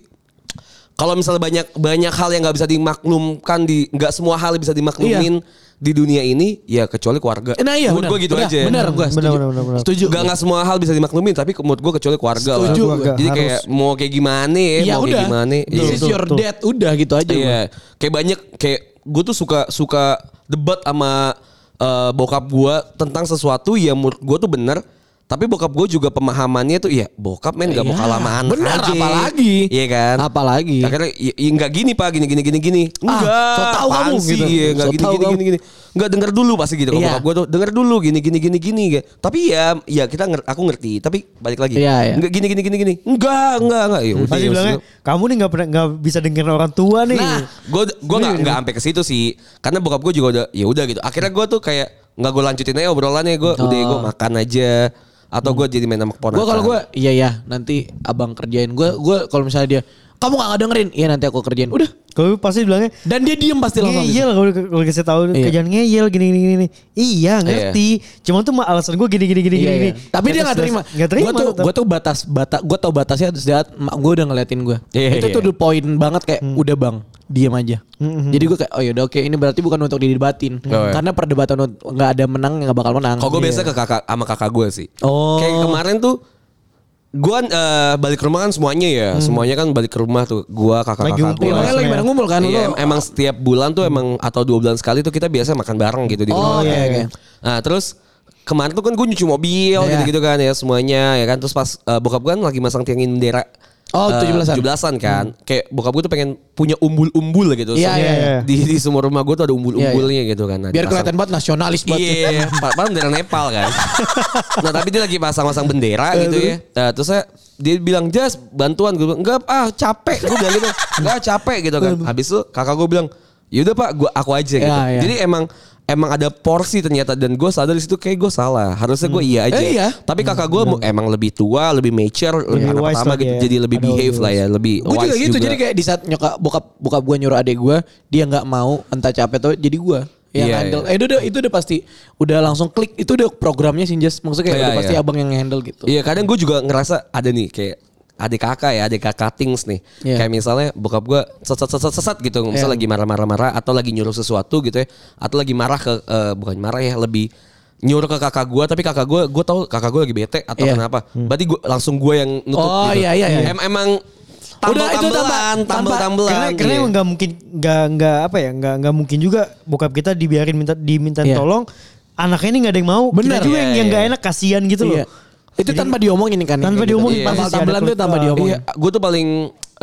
C: kalau misalnya banyak banyak hal yang nggak bisa dimaklumkan di nggak semua hal bisa dimaklumin di dunia ini ya kecuali keluarga.
B: Eh, Iya. Nah iya
C: menurut
B: benar.
C: gue gitu
B: Udah,
C: aja.
B: Benar gue setuju.
D: Benar, benar, benar, benar.
B: Setuju.
C: Gak, nggak semua hal bisa dimaklumin tapi menurut gue kecuali keluarga lah.
B: Setuju.
D: Keluarga,
C: Jadi kayak mau kayak gimana ya,
B: Ya
C: mau
B: udah.
C: kayak gimana.
B: This
C: Iya.
B: is your
D: Betul,
B: dad udah gitu aja.
C: Iya.
B: gua.
C: Kayak banyak kayak gue tuh suka suka debat sama eh, bokap gue tentang sesuatu yang menurut gue tuh benar. Tapi bokap gue juga pemahamannya tuh ya bokap men gak mau
B: Iya.
C: kalah sama anak
B: Benar,
C: aja.
B: apalagi.
C: Iya kan.
B: Apalagi.
C: Akhirnya ya, ya nggak gini pak gini gini gini gini.
B: Ah,
C: Enggak.
B: so tau
C: apaan
B: kamu,
C: sih?
B: gitu.
C: Iya nggak
B: So
C: gini
B: tau
C: gini
B: kamu.
C: gini gini. Nggak denger dulu pasti gitu. Kalau
B: Iya.
C: bokap gue tuh denger dulu gini gini gini gini gini. Tapi ya ya kita nger- aku ngerti. Tapi balik lagi.
B: Iya, iya.
C: Nggak gini gini gini gini. Enggak enggak enggak. Ya udah,
D: Pasti
C: ya
D: bilangnya
C: udah.
D: kamu nih nggak pernah nggak bisa dengerin orang tua nih.
C: Nah, gue gue
B: Iya,
C: nggak nggak sampai ke situ sih, karena bokap gue juga udah ya udah gitu. Akhirnya gue tuh kayak nggak gue lanjutin aja obrolannya gue udah gue makan aja atau gue jadi main sama
B: Gue Oh.
C: keponakan.
B: Hmm. kalau gue iya ya nanti abang kerjain gue gue kalau misalnya dia kamu gak dengerin iya nanti aku kerjain udah
D: Kalau pasti bilangnya
B: dan dia diem pasti langsung gitu.
D: ngeyel kalau kalau kasih tahu
B: Iya.
D: kerjaan ngeyel gini gini gini. Iya ngerti. Cuma tuh mah alasan gue gini gini gini
B: Iya,
D: gini.
B: iya. Tapi dia gak terima.
D: Gak terima.
B: Gue tuh,
D: tetap.
B: gua tuh batas batas. Gue tau batasnya sejak mak gue udah ngeliatin gue.
C: Iya,
B: itu
C: iya.
B: tuh the point banget kayak
D: Hmm.
B: udah bang, diam aja. Jadi gue kayak oh yaudah oke ini berarti bukan untuk didebatin.
C: iya.
B: Karena perdebatan ut- nggak ada menang nggak bakal menang.
C: Kalau gue biasa ke kakak sama kakak gue sih.
B: Iya. Oh.
C: Kayak kemarin tuh gue balik ke rumah kan semuanya ya, semuanya kan balik ke rumah tuh gue kakak
D: Lagi
C: kakak
D: ngumpul
C: gue.
B: Iya, makanya Hmm. lagi
D: Iya.
B: bareng ngumpul kan
C: Iya,
B: lo.
C: em- emang setiap bulan tuh emang atau dua bulan sekali tuh kita biasa makan bareng gitu di
B: Oh,
C: rumah.
B: iya, iya.
C: Nah terus kemarin tuh kan gue nyuci mobil
B: Iya.
C: gitu-gitu kan ya semuanya ya kan. Terus pas eh, bokap gue kan lagi masang tiangin bendera.
B: Oh,
C: eh,
B: 17-an.
C: 17-an kan. Kayak bokap gue tuh pengen punya umbul-umbul gitu.
B: Iya,
C: Semua-
B: iya,
D: iya.
C: Di, di semua rumah gue tuh ada umbul-umbulnya gitu kan. Nah,
B: Biar
C: dipasang-
B: kelihatan banget nasionalis banget.
C: Iya, pa- padahal bendera Nepal kan. nah tapi dia lagi pasang-pasang bendera gitu ya. Nah, terus saya dia bilang Jas bantuan gue bilang enggak ah capek gue bilang gitu enggak capek gitu kan habis itu kakak gue bilang yaudah pak gua aku aja gitu
B: Ya, ya.
C: jadi emang emang ada porsi ternyata dan gue sadar di situ kayak gue salah harusnya gue iya aja
B: Eh, iya.
C: tapi kakak gue emang lebih tua lebih mature lebih
D: Lebih
C: anak
D: wise
C: pertama
D: lah
C: gitu
D: dia.
C: jadi lebih
D: Ada
C: behave
D: lebih
C: lah ya lebih
B: Gue juga
C: wise
B: gitu jadi kayak di saat nyokap bokap bokap gue nyuruh adik gue dia nggak mau entah capek atau jadi gue yang
C: Iya,
B: handle.
C: iya.
B: Eh, itu udah itu udah pasti udah langsung klik itu udah programnya Sinjas maksudnya kayak
C: Iya,
B: udah pasti
C: iya.
B: abang yang handle gitu.
C: Iya kadang gue juga ngerasa ada nih kayak adik kakak ya adik kakak things nih
B: Iya.
C: kayak misalnya bokap gue sesat sesat sesat gitu misalnya lagi marah marah marah atau lagi nyuruh sesuatu gitu ya atau lagi marah ke eh, bukan marah ya lebih nyuruh ke kakak gue tapi kakak gue gue tahu kakak gue lagi bete atau
B: Iya.
C: kenapa berarti gue langsung gue yang nutup
B: Oh,
C: gitu
B: iya, iya, iya.
C: Em- emang Iya. tambel
B: Udah, itu tambah-
C: tambelan
B: tanpa-
C: tambel tambelan
D: Karena, karena emang nggak mungkin nggak nggak apa ya nggak nggak mungkin juga bokap kita dibiarin minta diminta
B: Iya.
D: tolong anaknya ini nggak ada yang mau
B: Bener.
D: kita juga
C: Iya,
D: yang yang
C: iya.
D: nggak enak kasihan gitu loh
B: Iya. Itu tanpa diomongin kan. Kayak
D: Tanpa diomongin,
B: Gitu. Tambah
D: pasti ada
B: tambelan tuh
D: keluar.
B: tanpa diomongin.
C: Iya, gue tuh paling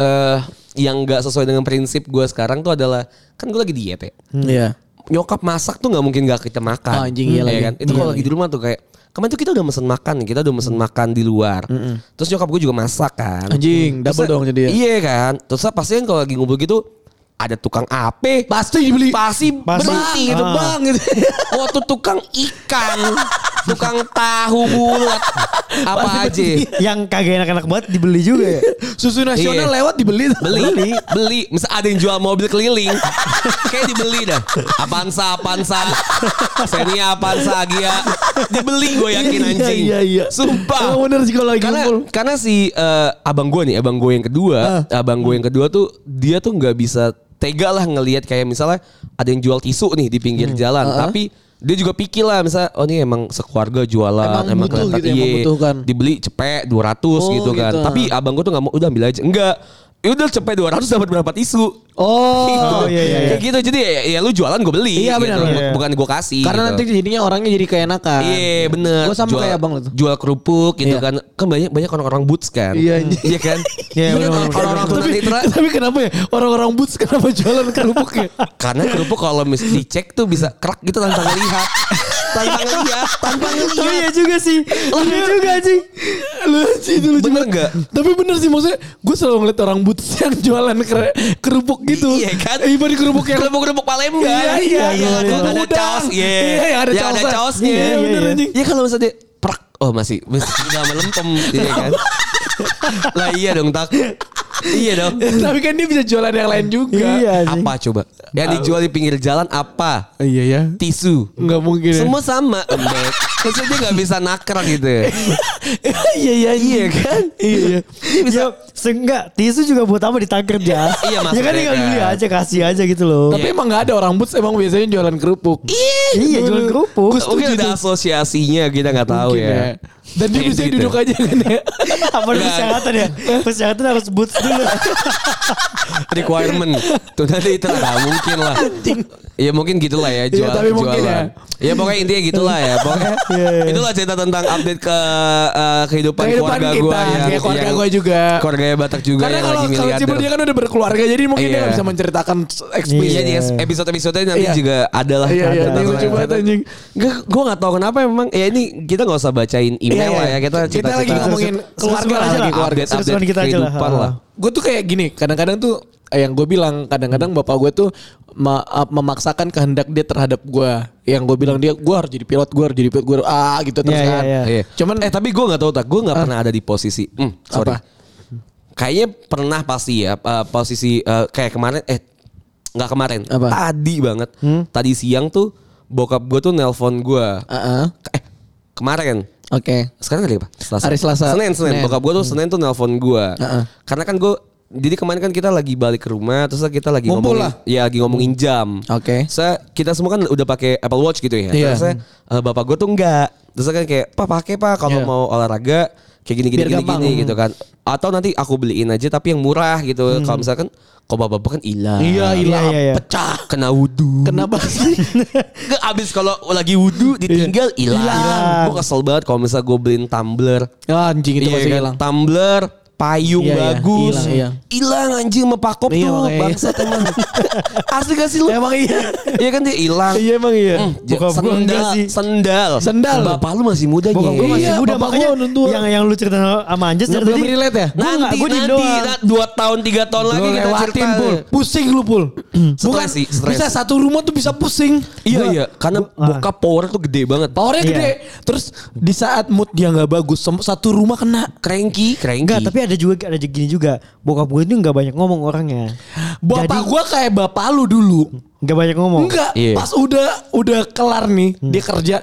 C: eh yang nggak sesuai dengan prinsip gue sekarang tuh adalah kan gue lagi diet ya
B: Iya.
C: nyokap masak tuh nggak mungkin nggak kita makan.
B: Oh, anjing, iya lagi.
C: kan?
B: Iya
C: Itu kalau
B: lagi.
C: lagi di rumah tuh kayak kemarin tuh kita udah mesen makan, nih, kita udah mesen makan di luar. Terus nyokap gue juga masak kan.
B: Anjing, double
C: Terus-
B: dong jadi ya.
C: Iya kan. Terus pasti kan kalau lagi ngumpul gitu ada tukang AP.
B: Pasti dibeli.
C: Pasti,
D: Pasti.
C: bang gitu
D: Ah.
C: bang gitu. Oh tuh tukang ikan, tukang tahu bulat, apa aja.
B: Iya.
D: yang kagak enak-enak banget dibeli juga ya
B: Susu nasional
C: Iya.
B: lewat dibeli. tuh.
C: beli beli misal ada yang jual mobil keliling kayak dibeli dah Avanza Avanza Xenia Avanza Agia dibeli gue yakin
B: Iya,
C: anjing
B: iya, iya.
C: sumpah
B: Emang bener sih kalau lagi
C: karena
B: ngumpul.
C: karena si eh, abang gue nih abang gue yang kedua abang gue yang kedua tuh dia tuh nggak bisa tega lah ngelihat kayak misalnya ada yang jual tisu nih di pinggir
B: Hmm.
C: jalan tapi dia juga pikir lah misalnya oh ini emang sekeluarga jualan
B: Emang butuh
C: kelihatan-
B: gitu, emang
C: iya,
B: butuhkan.
C: dibeli cepet 200
B: Oh,
C: gitu kan
B: gitu.
C: tapi abang gue tuh nggak mau udah ambil aja enggak ya udah cepet 200 dapat berapa tisu
B: Oh.
D: Oh, iya, iya,
C: kayak gitu jadi ya, ya lu jualan gue beli
B: Iya, benar,
C: gitu.
D: benar.
C: bukan gue kasih
B: Karena
C: gitu.
B: nanti jadinya orangnya jadi keenakan.
C: Iya bener
B: Gue kan. sama
C: Jual-
B: kayak abang lu tuh.
C: Jual kerupuk gitu
B: Iya.
C: kan Kan banyak, banyak orang-orang boots kan
B: Iya, anjing.
C: Iya kan
D: Iya,
C: Iya,
D: bener,
C: kan?
D: bener,
C: Orang-orang tuh
B: tapi,
C: nanti tra-
B: tapi kenapa ya orang-orang boots kenapa jualan kerupuk ya?
C: Karena kerupuk kalau mesti dicek tuh bisa kerak gitu tanpa ngelihat Tanpa ngelihat Tanpa
D: tapi
C: ngelihat
D: ya juga sih iya juga sih
B: Lu sih itu lucu
C: Bener
B: banget.
C: nggak?
B: Tapi bener sih maksudnya gue selalu ngeliat orang boots yang jualan ker- kerupuk gitu.
C: Iya kan?
B: Ibarat kerupuk yang
C: Kerupuk-kerupuk Palembang
B: Iya, iya,
C: Yang
B: iya,
C: ada-
B: iya.
C: Ada caos Iya
B: Iya, yang ada
C: Yang ada
B: caosnya.
C: caosnya
B: Iya,
C: Iya,
B: bener,
C: iya.
B: anjing.
C: Iya kalau misalnya dia Prak Oh masih Masih udah melempem Iya kan Lah iya dong tak iya dong.
B: Tapi kan dia bisa jualan yang lain juga.
D: Iya sih.
C: Apa coba? Yang dijual di pinggir jalan apa?
B: Iya ya.
C: Tisu.
B: Enggak mungkin. ya.
C: Semua sama. Embek. Maksudnya dia nggak bisa nakrak gitu. ya.
B: iya iya iya kan. Iya iya.
D: Ya, seenggak tisu juga buat apa ditangker ya?
C: Iya,
D: ya kan
C: maksudnya
D: tinggal
C: kan.
D: beli aja kasih aja gitu loh.
B: Tapi emang nggak ada orang boots emang biasanya jualan kerupuk.
D: iya jual kerupuk.
B: Gus- setuju
C: Mungkin ada
B: tuh.
C: asosiasinya kita nggak tahu
B: Mungkin
C: ya.
B: Dan dia
C: Kayak
B: bisa
C: gitu.
B: duduk aja kan ya.
D: apa ada persyaratan ya? Persyaratan harus boots dulu.
B: Ah,
C: Requirement. Tuh nanti itu nggak mungkin lah. Ya mungkin gitulah ya jual,
B: Iya, tapi mungkin
C: jualan. Ya. pokoknya intinya gitulah ya. Pokoknya
D: Iya, iya.
C: itulah cerita tentang update ke eh, kehidupan,
B: Kehidupan
C: keluarga
B: kita,
C: gua yang,
B: ya, keluarga
C: yang-
B: gua juga.
C: Keluarga Batak juga
B: Karena
C: yang
B: kalau
C: lagi
B: kalau Cibur
C: miliarder.
B: dia kan udah berkeluarga jadi mungkin dia
C: Iya.
B: nggak bisa menceritakan
C: Iya,
B: eksplisit.
C: di
D: Iya.
C: episode-episode nanti
B: Iya.
C: juga ada lah.
B: Iya iya.
C: Tentang-
B: Ini lucu banget anjing.
C: Gue gue nggak tahu kenapa memang ya ini kita nggak usah bacain email
B: Iya,
C: lah ya
B: iya.
C: kita
B: Kita
C: cita-cita.
B: lagi ngomongin keluarga
C: Seru-seruan
B: lah,
C: aja
B: lagi keluarga.
C: update
D: Seru-seruan
C: update
D: kita aja lah.
C: kehidupan lah.
B: gue tuh kayak gini kadang-kadang tuh eh, yang gue bilang kadang-kadang bapak gue tuh ma- ap- memaksakan kehendak dia terhadap gue yang gue bilang dia gue harus jadi pilot gue harus jadi pilot gue harus- ah gitu terus
D: Iya,
B: kan
D: iya,
C: Iya.
B: cuman Ah.
C: eh tapi gue nggak tahu tak gue nggak pernah ada di posisi hmm, sorry.
B: Apa?
C: Kayaknya pernah pasti ya eh, posisi eh, kayak kemarin eh nggak kemarin
B: Apa? Hmm?
C: tadi banget tadi siang tuh bokap gue tuh nelpon gue
B: ah, ah,
C: eh kemarin
B: oke
C: sekarang hari apa? Selasa.
B: Hari Selasa.
C: Senin, Senin.
B: Senin.
C: Bokap gue tuh Senin tuh nelpon gue.
B: Heeh.
C: Karena kan gue, jadi kemarin kan kita lagi balik ke rumah, terus kita lagi
B: Ngumpul
C: ngomongin,
B: lah.
C: ya lagi ngomongin jam.
B: Oke.
C: Saya, kita semua kan udah pakai Apple Watch gitu ya.
B: Iya.
C: Terus saya, eh, bapak gue tuh enggak. Terus kan kayak, pak pakai pak kalau
B: Iya.
C: mau olahraga kayak gini gini
B: Biar
C: gini,
B: gampang.
C: gini," gitu kan. Atau nanti aku beliin aja tapi yang murah gitu. Kalau misalkan, kok bapak-bapak kan hilang.
B: Hmm. iya iya
D: iya, iya.
B: pecah
C: Kena wudhu.
B: kenapa sih
C: Nggak, abis kalau lagi wudhu ditinggal
B: Iya.
C: hilang.
D: Hilang.
C: Gue kesel banget kalau misalnya gue beliin tumbler.
B: Ah, anjing itu
C: Iya
B: masih
C: kan?
B: hilang
C: Tumbler, payung
B: Iya, iya,
C: bagus.
B: hilang, iya.
C: Hilang anjing sama pakop
B: Iya,
C: tuh.
B: makanya.
C: Bangsat emang. Asli gak sih lu?
B: emang iya
C: Iya kan dia hilang.
B: iya emang iya
C: Hmm,
D: Bokap gua
C: sendal,
D: enggak sih.
C: sendal.
B: Sendal.
C: Bapak lu masih muda
D: Bokap gue masih
B: Iya,
D: muda
B: bapak
D: makanya
B: gua nonton.
D: yang yang lu cerita sama Anjas
B: Nggak
D: dari
B: belum relate ya?
D: Gue enggak,
C: Nanti,
D: gue diem
C: nanti,
D: doang.
C: nanti, dua tahun, tiga tahun
B: Lu
C: lagi kita
B: lewatin,
C: cerita.
B: Pul. ya. pusing lu pul bukan
C: sih, Hmm, stres.
B: bisa satu rumah tuh bisa pusing
C: Iya,
B: Gua-
C: iya. Karena bokap power tuh gede banget.
B: Powernya
D: Iya.
B: gede. Terus di saat mood dia nggak bagus, sem- satu rumah kena.
C: Cranky, cranky.
D: Enggak, tapi ada juga ada gini juga. Bokap gue itu enggak banyak ngomong orangnya.
B: Bapak
D: Jadi-
B: gua kayak bapak lu dulu.
D: Enggak banyak ngomong.
B: Enggak,
C: Iya. Hmm.
B: pas udah udah kelar nih, dia kerja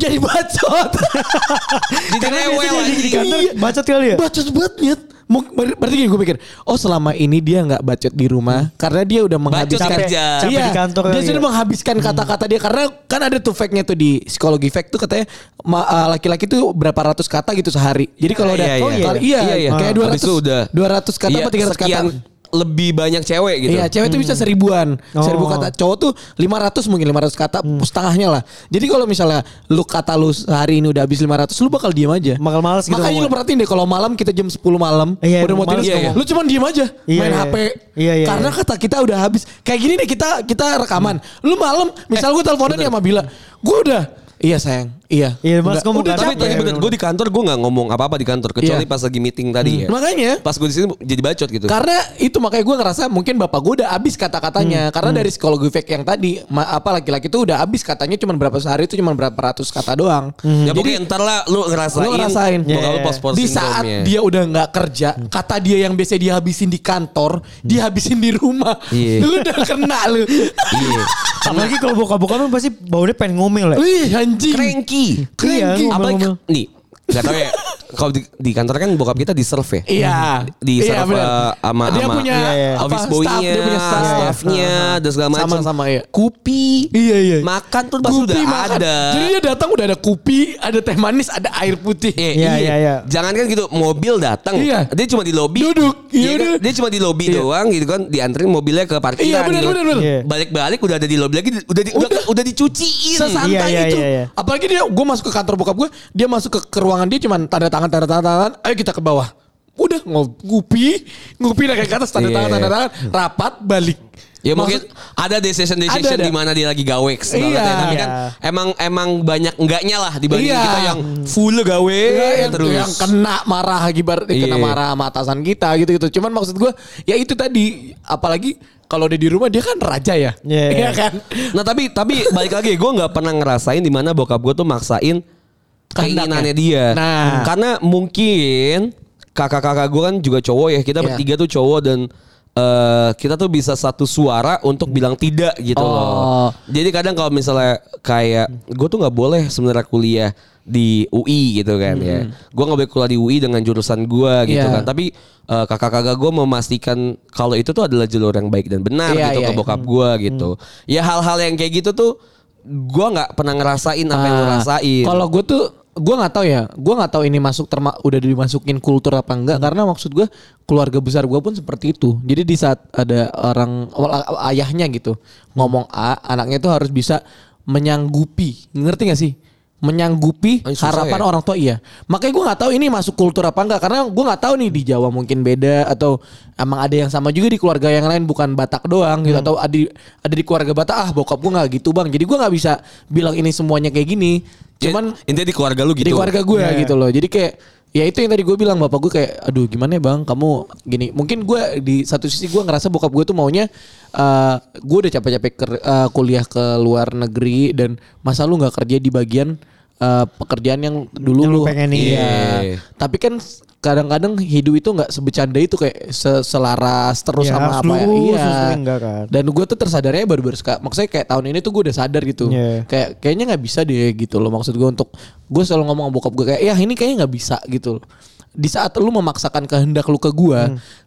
B: jadi bacot.
C: Jadi
D: Karena biasanya
C: rewel
D: jadi di
C: anjing. Iya.
D: kantor bacot kali ya.
B: iya. bacot banget Nyet. Mau- ber- Berarti gini gue pikir, oh selama ini dia nggak bacot di rumah karena dia udah menghabiskan
C: Hmm. kerja.
B: Iya,
D: Capek di kantor
B: Dia
D: kali
B: sudah
D: ya.
C: Hmm.
B: menghabiskan kata-kata dia karena kan ada tuh fact-nya tuh di psikologi fact tuh katanya ma- uh, laki-laki tuh berapa ratus kata gitu sehari. Jadi kalau udah
C: Iya, iya.
B: kalau- iya,
C: Iya, iya.
B: kayak
C: Ah.
B: 200
C: Habis itu udah.
B: 200 kata
C: Iya,
B: apa 300 kata.
C: sekian lebih banyak cewek gitu.
B: Iya, cewek tuh bisa seribuan.
D: Oh. Hmm.
B: Seribu kata. Cowok tuh 500 mungkin 500 kata setengahnya lah. Jadi kalau misalnya lu kata lu sehari ini udah habis 500, lu bakal diem aja.
D: Bakal males gitu
B: Makanya lu
D: ngomong.
B: perhatiin deh kalau malam kita jam 10 malam
D: Iya,
B: udah mau tidur
D: males
B: iya,
C: ngomong.
B: lu cuman diem aja
D: Iya,
B: main
D: iya.
B: HP.
D: Iya, iya,
B: Karena
D: iya. Hmm.
B: kata kita udah habis. Kayak gini deh kita kita rekaman. Lu malam
D: Eh,
B: misal gue teleponan ya sama Bila. Gue udah Iya sayang, iya.
D: Iya, mas,
B: Udah,
D: ngomong
B: udah
C: Tapi
D: kan?
B: capek.
C: tadi
D: Iya,
C: bener
D: bener-bener.
C: gue di kantor gue nggak ngomong apa-apa di kantor kecuali
B: Iya.
C: pas lagi meeting tadi ya.
B: Makanya
C: Pas gue di sini jadi bacot gitu.
B: Karena itu makanya gue ngerasa mungkin bapak gue udah habis kata-katanya. Karena dari psikologi fake yang tadi, ma- apa laki-laki itu udah habis katanya cuma berapa sehari itu cuma berapa ratus kata doang.
C: ya pokoknya ntar lah lu ngerasain.
B: Hmm. Lu ngerasain.
C: Bokap lu
D: Iya.
C: post
B: Di saat dia udah nggak kerja, kata dia yang biasa dia habisin di kantor, dia habisin di rumah.
C: Iya.
B: Lu udah kena lu.
C: Iya.
D: Apalagi kalau bokap-bokap kan pasti baunya pengen ngomel ya.
B: Wih anjing.
C: Cranky.
D: Iya,
B: Cranky.
D: ngomel,
C: Apalagi kan,
D: ngomel.
C: nih. Gak tau ya. Kalau di, di kantor kan bokap kita di serve ya.
B: Iya.
C: Di
B: Iya,
C: serve
B: benar.
C: uh, sama
B: Dia
C: sama
B: punya apa,
C: office
B: staff,
C: boy-nya,
B: dia punya staff.
C: staffnya, dan segala macam.
B: Sama-sama, iya.
C: Kupi.
B: Iya, iya.
C: Makan tuh pas udah
B: makan.
C: ada.
B: Jadi dia datang udah ada kopi, ada teh manis, ada air putih.
C: Iya,
D: Iya,
C: iya.
D: iya, iya.
C: Jangan kan gitu mobil datang.
B: Iya.
C: Dia cuma di lobi.
B: Duduk, iya
C: kan?
B: udah.
C: Dia cuma di lobi doang gitu kan dianterin mobilnya ke
B: Iya
C: parkiran.
B: benar
C: gitu.
B: benar benar.
D: Iya.
C: Balik-balik udah ada di lobi lagi udah di- udah,
B: Udah.
C: udah dicuciin.
B: sesantai
D: Iya, iya,
B: itu.
D: iya, iya.
B: Apalagi dia, gue masuk ke kantor bokap gue, dia masuk ke, ke ruangan dia cuman tanda tangan, tanda tangan, tanda tangan, ayo kita ke bawah. Udah ngop- ngupi, ngupi naik ke atas tanda
C: Iya.
B: tangan, tanda tangan, rapat balik.
C: Ya mungkin
B: Maksud-
C: ada decision decision
B: Ada, ada.
C: di mana dia lagi gawe segala
B: Iya.
C: macam. Tapi kan
D: Iya.
C: emang emang banyak enggaknya lah dibanding
B: Iya.
C: kita yang full gawe
B: Iya, yang,
C: terus.
B: yang kena marah akibat eh, kena
C: Iya.
B: marah sama atasan kita gitu-gitu. Cuman maksud gue ya itu tadi apalagi kalau dia di rumah dia kan raja ya.
D: Iya, iya.
B: kan?
C: Nah tapi tapi balik lagi gue nggak pernah ngerasain di mana bokap gue tuh maksain keinginannya dia.
B: Nah.
C: Karena mungkin kakak-kakak gue kan juga cowok ya. Kita
B: Iya.
C: bertiga tuh cowok dan eh, kita tuh bisa satu suara untuk bilang tidak gitu
B: Oh.
C: loh. Jadi kadang kalau misalnya kayak gue tuh nggak boleh sebenarnya kuliah di UI gitu kan ya. Gue nggak boleh kuliah di UI dengan jurusan gue gitu
B: Hmm. Iya.
C: kan. Tapi eh, kakak-kakak gue memastikan kalau itu tuh adalah jalur yang baik dan benar
B: Iya,
C: gitu
B: iya,
C: ke
B: iya.
C: bokap gue gitu. Ya hal-hal yang kayak gitu tuh gue nggak pernah ngerasain apa yang lo
B: Ah,
C: rasain.
B: Kalau gue tuh gue nggak tahu ya, gue nggak tahu ini masuk terma udah dimasukin kultur apa enggak karena maksud gue keluarga besar gue pun seperti itu. Jadi di saat ada orang awal- ayahnya gitu ngomong A, anaknya tuh harus bisa menyanggupi, ngerti gak sih? Menyanggupi
C: Oh, susah
B: harapan
C: ya?
B: orang tua iya. Makanya gue nggak tahu ini masuk kultur apa enggak karena gue nggak tahu nih di Jawa mungkin beda atau emang ada yang sama juga di keluarga yang lain bukan Batak doang gitu atau ada ada di keluarga Batak ah bokap gue nggak gitu bang. Jadi gue nggak bisa bilang ini semuanya kayak gini. Cuman
C: Jadi, intinya di keluarga lu gitu.
B: di keluarga gue
D: Iya.
B: gitu loh. Jadi kayak ya itu yang tadi gue bilang bapak gue kayak aduh gimana ya bang kamu gini mungkin gue di satu sisi gue ngerasa bokap gue tuh maunya eh gue udah capek-capek ker- eh, kuliah ke luar negeri dan masa lu nggak kerja di bagian eh, pekerjaan yang dulu
D: Yang lu
B: lu
D: pengenin.
B: iya
C: Iya.
B: tapi kan s- kadang-kadang hidup itu nggak sebecanda itu kayak se- selaras terus
D: Iya,
B: sama
D: harus
B: apa ya
D: lurus,
B: iya
D: harus ini, enggak kan.
B: dan gue tuh tersadarnya baru-baru seka- maksudnya kayak tahun ini tuh gue udah sadar gitu
D: Iya.
B: kayak kayaknya nggak bisa deh gitu loh maksud gue untuk gue selalu ngomong sama bokap gue kayak ya ini kayaknya nggak bisa gitu loh di saat lu memaksakan kehendak lu ke gue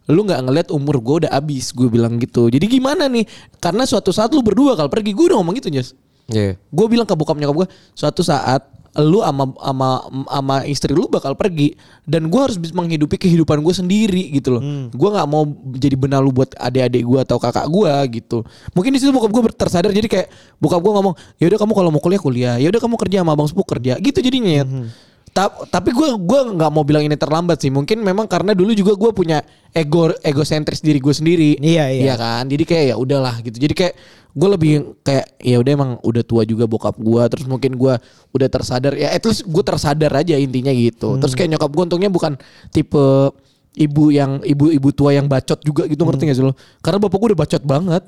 B: lu nggak ngeliat umur gue udah abis gue bilang gitu jadi gimana nih karena suatu saat lu berdua kalau pergi gue udah ngomong gitu Jas
C: Iya.
B: gue bilang ke bokap nyokap gue suatu saat lu ama ama ama istri lu bakal pergi dan gue harus bisa menghidupi kehidupan gue sendiri gitu loh
D: Hmm.
B: gue nggak mau jadi benalu buat adik-adik gue atau kakak gue gitu mungkin di situ bokap gue tersadar jadi kayak bokap gue ngomong yaudah kamu kalau mau kuliah kuliah yaudah kamu kerja sama abang sepupu kerja gitu jadinya ya
D: Hmm.
B: Ta- tapi gue gua nggak mau bilang ini terlambat sih mungkin memang karena dulu juga gue punya ego egosentris diri gue sendiri
D: Iya, iya.
B: Iya kan jadi kayak ya udahlah gitu jadi kayak gue lebih kayak ya udah emang udah tua juga bokap gue terus mungkin gue udah tersadar ya at least gue tersadar aja intinya gitu terus
D: Hmm.
B: kayak nyokap gue untungnya bukan tipe ibu yang ibu-ibu tua yang bacot juga gitu ngerti gak sih lo karena bapak gue udah bacot banget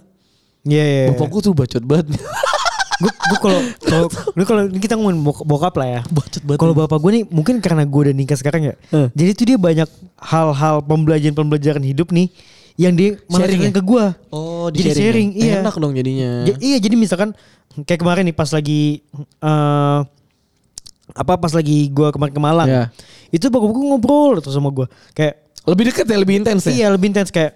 D: Iya, Hmm. iya.
B: bapak gue tuh bacot banget
D: gue gue kalau kalau ini kalau ini kita ngomongin bok- bokap lah ya
B: Bacot banget.
D: kalau bapak gue nih mungkin karena gue udah nikah sekarang ya
B: Hmm.
D: jadi tuh dia banyak hal-hal pembelajaran pembelajaran hidup nih yang dia
B: Sharing
D: malah ceritain
B: ya?
D: ke gue jadi
B: di-sharing ya?
D: sharing iya
B: enak dong jadinya
D: Ja- iya jadi misalkan kayak kemarin nih pas lagi eh apa pas lagi gue kemarin ke Malang
B: Iya.
D: itu bapak gue ngobrol terus sama gue kayak
B: lebih deket ya lebih intens ya
D: Iya lebih intens kayak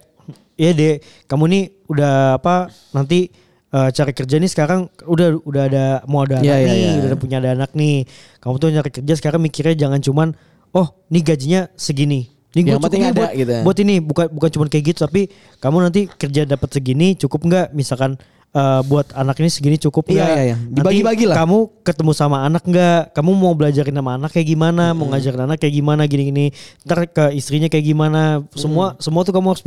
D: ya deh kamu nih udah apa nanti eh, cari kerja nih sekarang udah udah ada mau ada anak
B: Iya, iya,
D: nih
B: iya.
D: udah ada punya ada anak nih kamu tuh nyari kerja sekarang mikirnya jangan cuman oh nih gajinya segini
B: Yang
D: nih gua
B: penting
D: cukup nih
B: ada
D: buat,
B: gitu.
D: buat ini bukan bukan cuman kayak gitu tapi kamu nanti kerja dapat segini cukup nggak misalkan eh, buat anak ini segini cukup
B: Iya,
D: nggak
B: iya, iya.
D: Nanti
B: Dibagi-bagi lah.
D: kamu ketemu sama anak nggak kamu mau belajarin sama anak kayak gimana mau ngajarin anak kayak gimana gini-gini ntar ke istrinya kayak gimana semua semua tuh kamu harus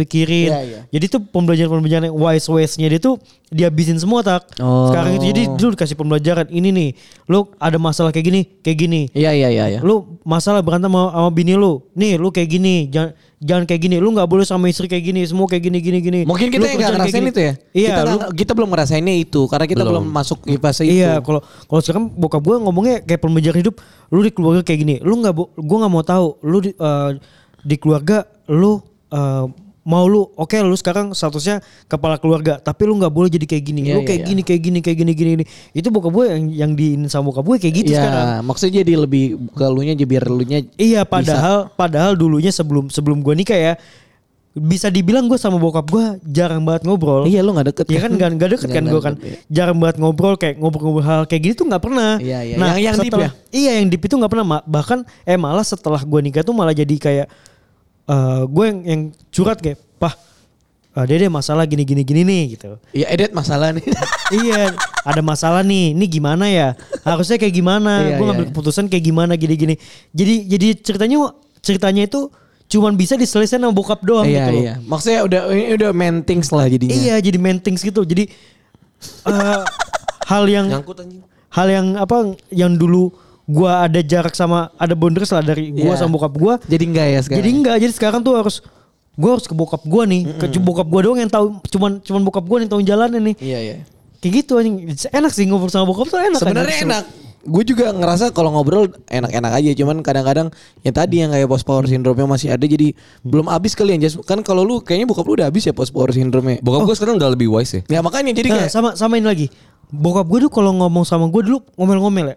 B: Mm.
D: pikirin
B: Iya, iya.
D: jadi tuh pembelajaran pembelajaran yang wise wise nya dia tuh dihabisin semua tak
B: Oh.
D: sekarang itu jadi dulu dikasih pembelajaran ini nih lo ada masalah kayak gini kayak gini
B: iya iya iya iya.
D: lu masalah berantem sama, sama bini lu nih lu kayak gini jangan jangan kayak gini lu nggak boleh sama istri kayak gini semua kayak gini gini gini
B: Mungkin kita
D: Lu
B: yang nggak
D: kerjaan kayak
B: ngerasain
D: gini.
B: itu ya.
D: iya
B: kita,
D: lu-
B: nggak- kita belum ngerasainnya itu karena kita belum, masuk di fase itu.
D: Iya, kalau kalau sekarang bokap gue ngomongnya kayak pembelajaran hidup, lu di keluarga kayak gini, lu nggak bo- gua nggak mau tahu, lu di, eh, di keluarga lu eh, mau lu oke lu sekarang statusnya kepala keluarga, tapi lu nggak boleh jadi kayak gini,
B: Iya,
D: lu kayak
B: iya, iya.
D: gini kayak gini kayak gini gini, gini. Itu bokap gue yang yang diin sama bokap gue kayak gitu
B: Iya,
D: sekarang.
B: maksudnya jadi lebih ke lunya jadi biar lunya
D: Iya, padahal padahal dulunya sebelum sebelum gue nikah ya bisa dibilang gue sama bokap gue jarang banget ngobrol.
B: Iya, lu nggak deket.
D: Iya kan gak, gak deket kan gue kan
B: deket,
D: jarang banget ngobrol kayak ngobrol-ngobrol hal kayak gini tuh nggak pernah.
B: Iya, iya.
D: Nah
B: Yang- yang deep
D: setelah- Iya yang deep itu nggak pernah Ma- bahkan eh malah setelah gue nikah tuh malah jadi kayak eh gue yang, yang curhat kayak pah eh, dede masalah gini gini gini nih gitu.
B: Iya, edet masalah nih.
D: iya ada masalah nih ini gimana ya harusnya kayak gimana
B: Iya,
D: gue
B: iya,
D: ngambil
B: iya.
D: keputusan kayak gimana gini gini. Jadi jadi ceritanya ceritanya itu cuman bisa diselesaikan sama bokap doang
B: iya,
D: gitu loh.
B: iya. Maksudnya udah ini udah main things lah jadinya.
D: Iya jadi main things gitu. Jadi eh, hal yang
C: Nyangkut anjing.
D: hal yang apa yang dulu gua ada jarak sama ada boundaries lah dari gua
B: Iya.
D: sama bokap gua.
B: Jadi enggak ya sekarang.
D: Jadi enggak, jadi sekarang tuh harus gua harus ke bokap gua nih. Ke bokap gua doang yang tahu cuman cuman bokap gua yang tahu jalannya nih.
B: Iya, iya.
D: Kayak gitu anjing. Enak sih ngobrol sama bokap tuh enak.
B: Sebenarnya
D: anjing.
B: enak. gue juga ngerasa kalau ngobrol enak-enak aja cuman kadang-kadang ya tadi yang kayak post power syndrome masih ada jadi belum habis kali yang Jas. kan kalau lu kayaknya bokap lu udah habis ya post power syndrome
C: Bokap gue sekarang udah lebih wise ya.
B: ya makanya jadi
D: Nah,
B: kayak
D: sama sama ini lagi. Bokap gue tuh kalau ngomong sama gue dulu ngomel-ngomel ya.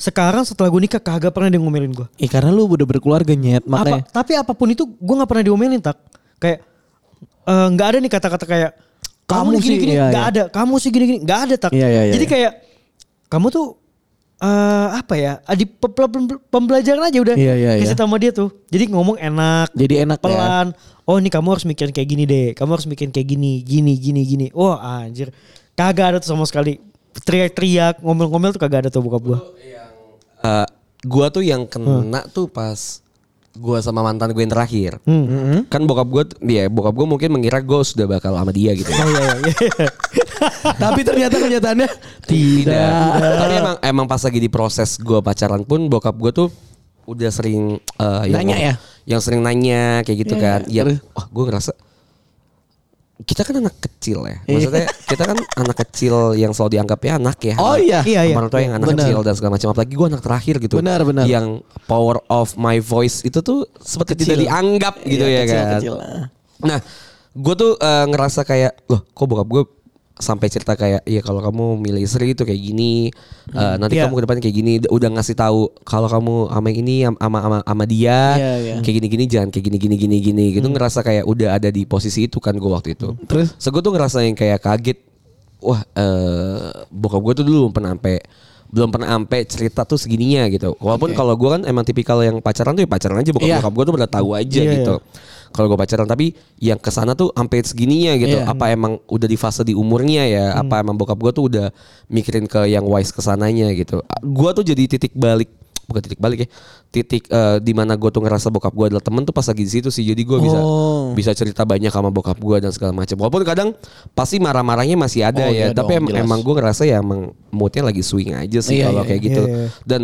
D: Sekarang setelah gue nikah kagak pernah dia ngomelin gue.
B: Ih, karena lu udah berkeluarga nyet
D: Apa,
B: makanya
D: tapi apapun itu gue nggak pernah diomelin tak. Kayak eh, nggak ada nih kata-kata kayak
B: Kamu
D: kamu
B: sih,
D: gini-gini
B: iya,
D: nggak
B: iya.
D: ada, kamu sih gini-gini nggak ada tak.
B: Iya, iya, iya,
D: Jadi
B: iya.
D: kayak kamu tuh eh, apa ya di pe- pe- pembelajaran aja udah
B: Iya, iya,
D: kasih
B: iya.
D: sama dia tuh. Jadi ngomong enak.
B: Jadi enak ya.
D: pelan. Oh ini kamu harus mikirin kayak gini deh. Kamu harus mikirin kayak gini, gini, gini, gini. Oh anjir. Kagak ada tuh sama sekali. Teriak-teriak, ngomel-ngomel tuh kagak ada tuh bokap gua.
C: Eh, gua tuh yang
D: Hmm.
C: kena tuh pas gua sama mantan gue yang terakhir.
D: Hmm.
B: Hmm.
C: Kan bokap gue dia bokap gue mungkin mengira gue sudah bakal sama dia gitu.
D: Oh iya, iya, iya.
B: tapi ternyata kenyataannya tidak
C: Tapi emang emang pas lagi di proses gua pacaran pun bokap gue tuh udah sering eh,
B: Nanya ya?
C: yang sering nanya kayak gitu kan.
B: iya.
C: Ya, wah gue ngerasa kita kan anak kecil ya.
B: Iya.
C: Maksudnya kita kan anak kecil yang selalu dianggapnya anak ya.
B: Oh
C: Anak-
B: iya.
D: Iya, iya.
C: Orang tua yang anak
B: Benar.
C: kecil dan segala macam. Apalagi gue anak terakhir gitu.
B: Benar, benar.
C: Yang power of my voice itu tuh seperti
B: Kecil.
C: tidak dianggap gitu
B: Iya,
C: ya
B: kecil,
C: kan.
B: kecil lah.
C: Nah, gue tuh eh, ngerasa kayak loh, kok bokap gue sampai cerita kayak ya kalau kamu milih istri itu kayak gini, eh,
B: Hmm,
C: nanti
D: Iya.
C: kamu ke depan kayak gini, D- udah ngasih tahu kalau kamu ama yang ini am- ama ama ama dia
B: Iya, iya. Hmm.
C: kayak gini-gini jangan kayak gini-gini gini-gini gitu ngerasa kayak udah ada di posisi itu kan gue waktu itu.
B: Terus?
C: So gue tuh ngerasa yang kayak kaget. Wah, eh bokap gue tuh dulu belum pernah ampe belum pernah ampe cerita tuh segininya gitu. Walaupun kalau gue kan emang tipikal yang pacaran tuh ya pacaran aja bokap
B: Iya.
C: bokap gue tuh udah tahu aja
D: Iya,
C: gitu. Kalau gue pacaran tapi yang kesana tuh ampe segininya gitu.
B: Iya. Hmm.
C: Apa emang udah di fase di umurnya ya? Apa emang bokap gue tuh udah mikirin ke yang wise kesananya gitu. A- Gue tuh jadi titik balik bukan titik balik ya titik eh, di mana gue tuh ngerasa bokap gue adalah temen tuh pas lagi di situ sih jadi gue bisa
B: Oh.
C: bisa cerita banyak sama bokap gue dan segala macam walaupun kadang pasti marah-marahnya masih
B: Oh,
C: ada
B: iya
C: ya tapi
B: dong,
C: em-
B: jelas.
C: emang gue ngerasa ya emang moodnya lagi swing aja sih
B: Iya,
C: kalau
B: iya,
C: kayak
D: iya,
C: gitu
D: iya.
C: dan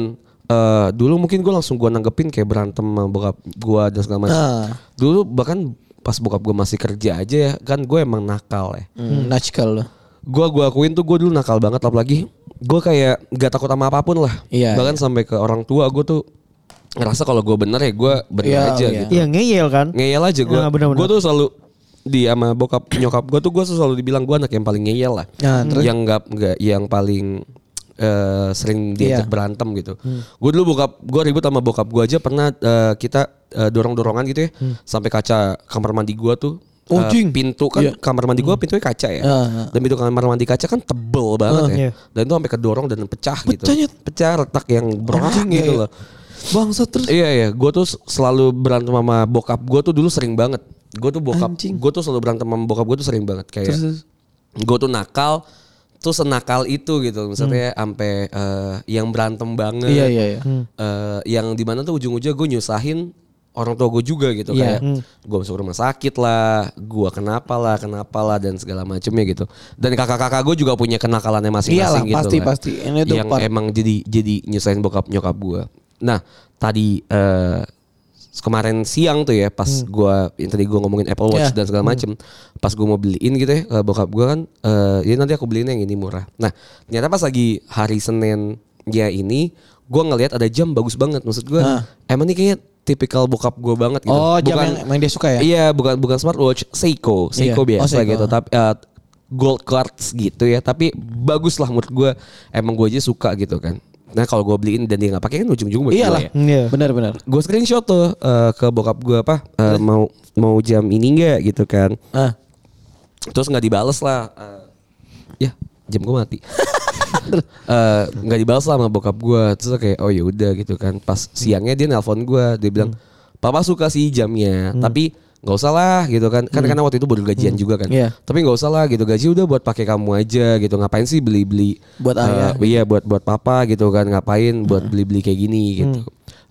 C: eh, dulu mungkin gue langsung gue nanggepin kayak berantem sama bokap gue dan segala macam
B: Ah.
C: dulu bahkan pas bokap gue masih kerja aja ya kan gue emang nakal ya
B: hmm, naskal lu.
C: gue gue akuin tuh gue dulu nakal banget apalagi gue kayak gak takut sama apapun lah
B: Iya,
C: bahkan sampai ke orang tua gue tuh ngerasa kalau gue bener ya gue bener
B: Iya,
C: aja
B: iya.
C: gitu
D: Iya ngeyel kan.
C: ngeyel aja gue.
D: Nah, benar-benar.
C: gue tuh selalu di sama bokap nyokap gue tuh gue selalu dibilang gue anak yang paling ngeyel lah.
B: Nah, terus?
C: Yang nggak nggak yang paling eh, sering diajak
B: Iya.
C: berantem gitu. Gue dulu bokap gue ribut sama bokap gue aja pernah eh, kita dorong dorongan gitu ya
B: Hmm.
C: sampai kaca kamar mandi gue tuh. eh,
B: Anjing.
C: pintu kan
B: Iya.
C: kamar mandi gue pintunya kaca ya.
B: Ah, ah.
C: Dan pintu kamar mandi kaca kan tebel banget ya.
D: iya.
C: Dan itu sampai kedorong dan pecah, gitu.
B: Pecah, Nyet.
C: Pecah retak yang berotak
B: Anjing, iya,
C: gitu
B: iya.
C: loh.
B: bangsa terus
C: Iya iya, gue tuh selalu berantem sama bokap gue tuh dulu sering banget. Gue tuh bokap,
B: Anjing.
C: gue tuh selalu berantem sama bokap gue tuh sering banget kayak.
B: Terus, terus.
C: Gue tuh nakal, tuh senakal itu gitu. Misalnya sampai eh, yang berantem banget.
B: Hmm. Iya, iya, iya.
C: Eh, yang dimana tuh ujung-ujungnya gue nyusahin orang tua gue juga gitu
B: Iya.
C: kayak gue masuk rumah sakit lah, gue kenapa lah, kenapa lah dan segala macemnya gitu. Dan kakak-kakak gue juga punya kenakalannya masing-masing
B: Iyalah,
C: gitu.
B: pasti,
C: lah.
B: pasti. Ini tuh
C: yang
B: part-
C: emang jadi jadi nyusahin bokap nyokap gue. Nah tadi eh, kemarin siang tuh ya pas
B: Hmm.
C: gua yang tadi gue ngomongin Apple Watch
B: Iya.
C: dan segala macem, pas gue mau beliin gitu ya eh, bokap gue kan, eh ya nanti aku beliin yang ini murah. Nah ternyata pas lagi hari Senin ya ini, gue ngelihat ada jam bagus banget maksud gue,
B: Ah.
C: emang ini kayaknya tipikal bokap gue banget gitu.
B: Oh, jam yang- yang dia suka ya?
C: Iya bukan bukan smartwatch, Seiko,
B: Iya. Oh,
C: Seiko biasa
B: Seiko.
C: gitu. Tapi eh, gold quartz gitu ya, tapi bagus lah menurut gue, emang gue aja suka gitu kan. Nah kalau gue beliin dan dia nggak pakai kan ujung-ujung buat gua
B: iyalah
C: ya
D: Iya.
B: benar-benar
C: gue screenshot tuh eh, ke bokap gue apa eh, mau mau jam ini nggak gitu kan
B: ah
C: terus nggak dibales lah Eh, ya jam gue mati Eh, nggak dibales lah sama bokap gue terus kayak oh ya udah gitu kan pas siangnya dia nelpon gue dia bilang
B: Hmm.
C: papa suka sih jamnya tapi nggak usah lah gitu kan kan karena waktu itu baru gajian juga kan
B: Hmm. Iya.
C: tapi nggak usah lah gitu gaji udah buat pakai kamu aja gitu ngapain sih beli beli
B: Buat ayah. gitu. Hmm.
C: iya buat buat papa gitu kan ngapain buat beli beli kayak gini gitu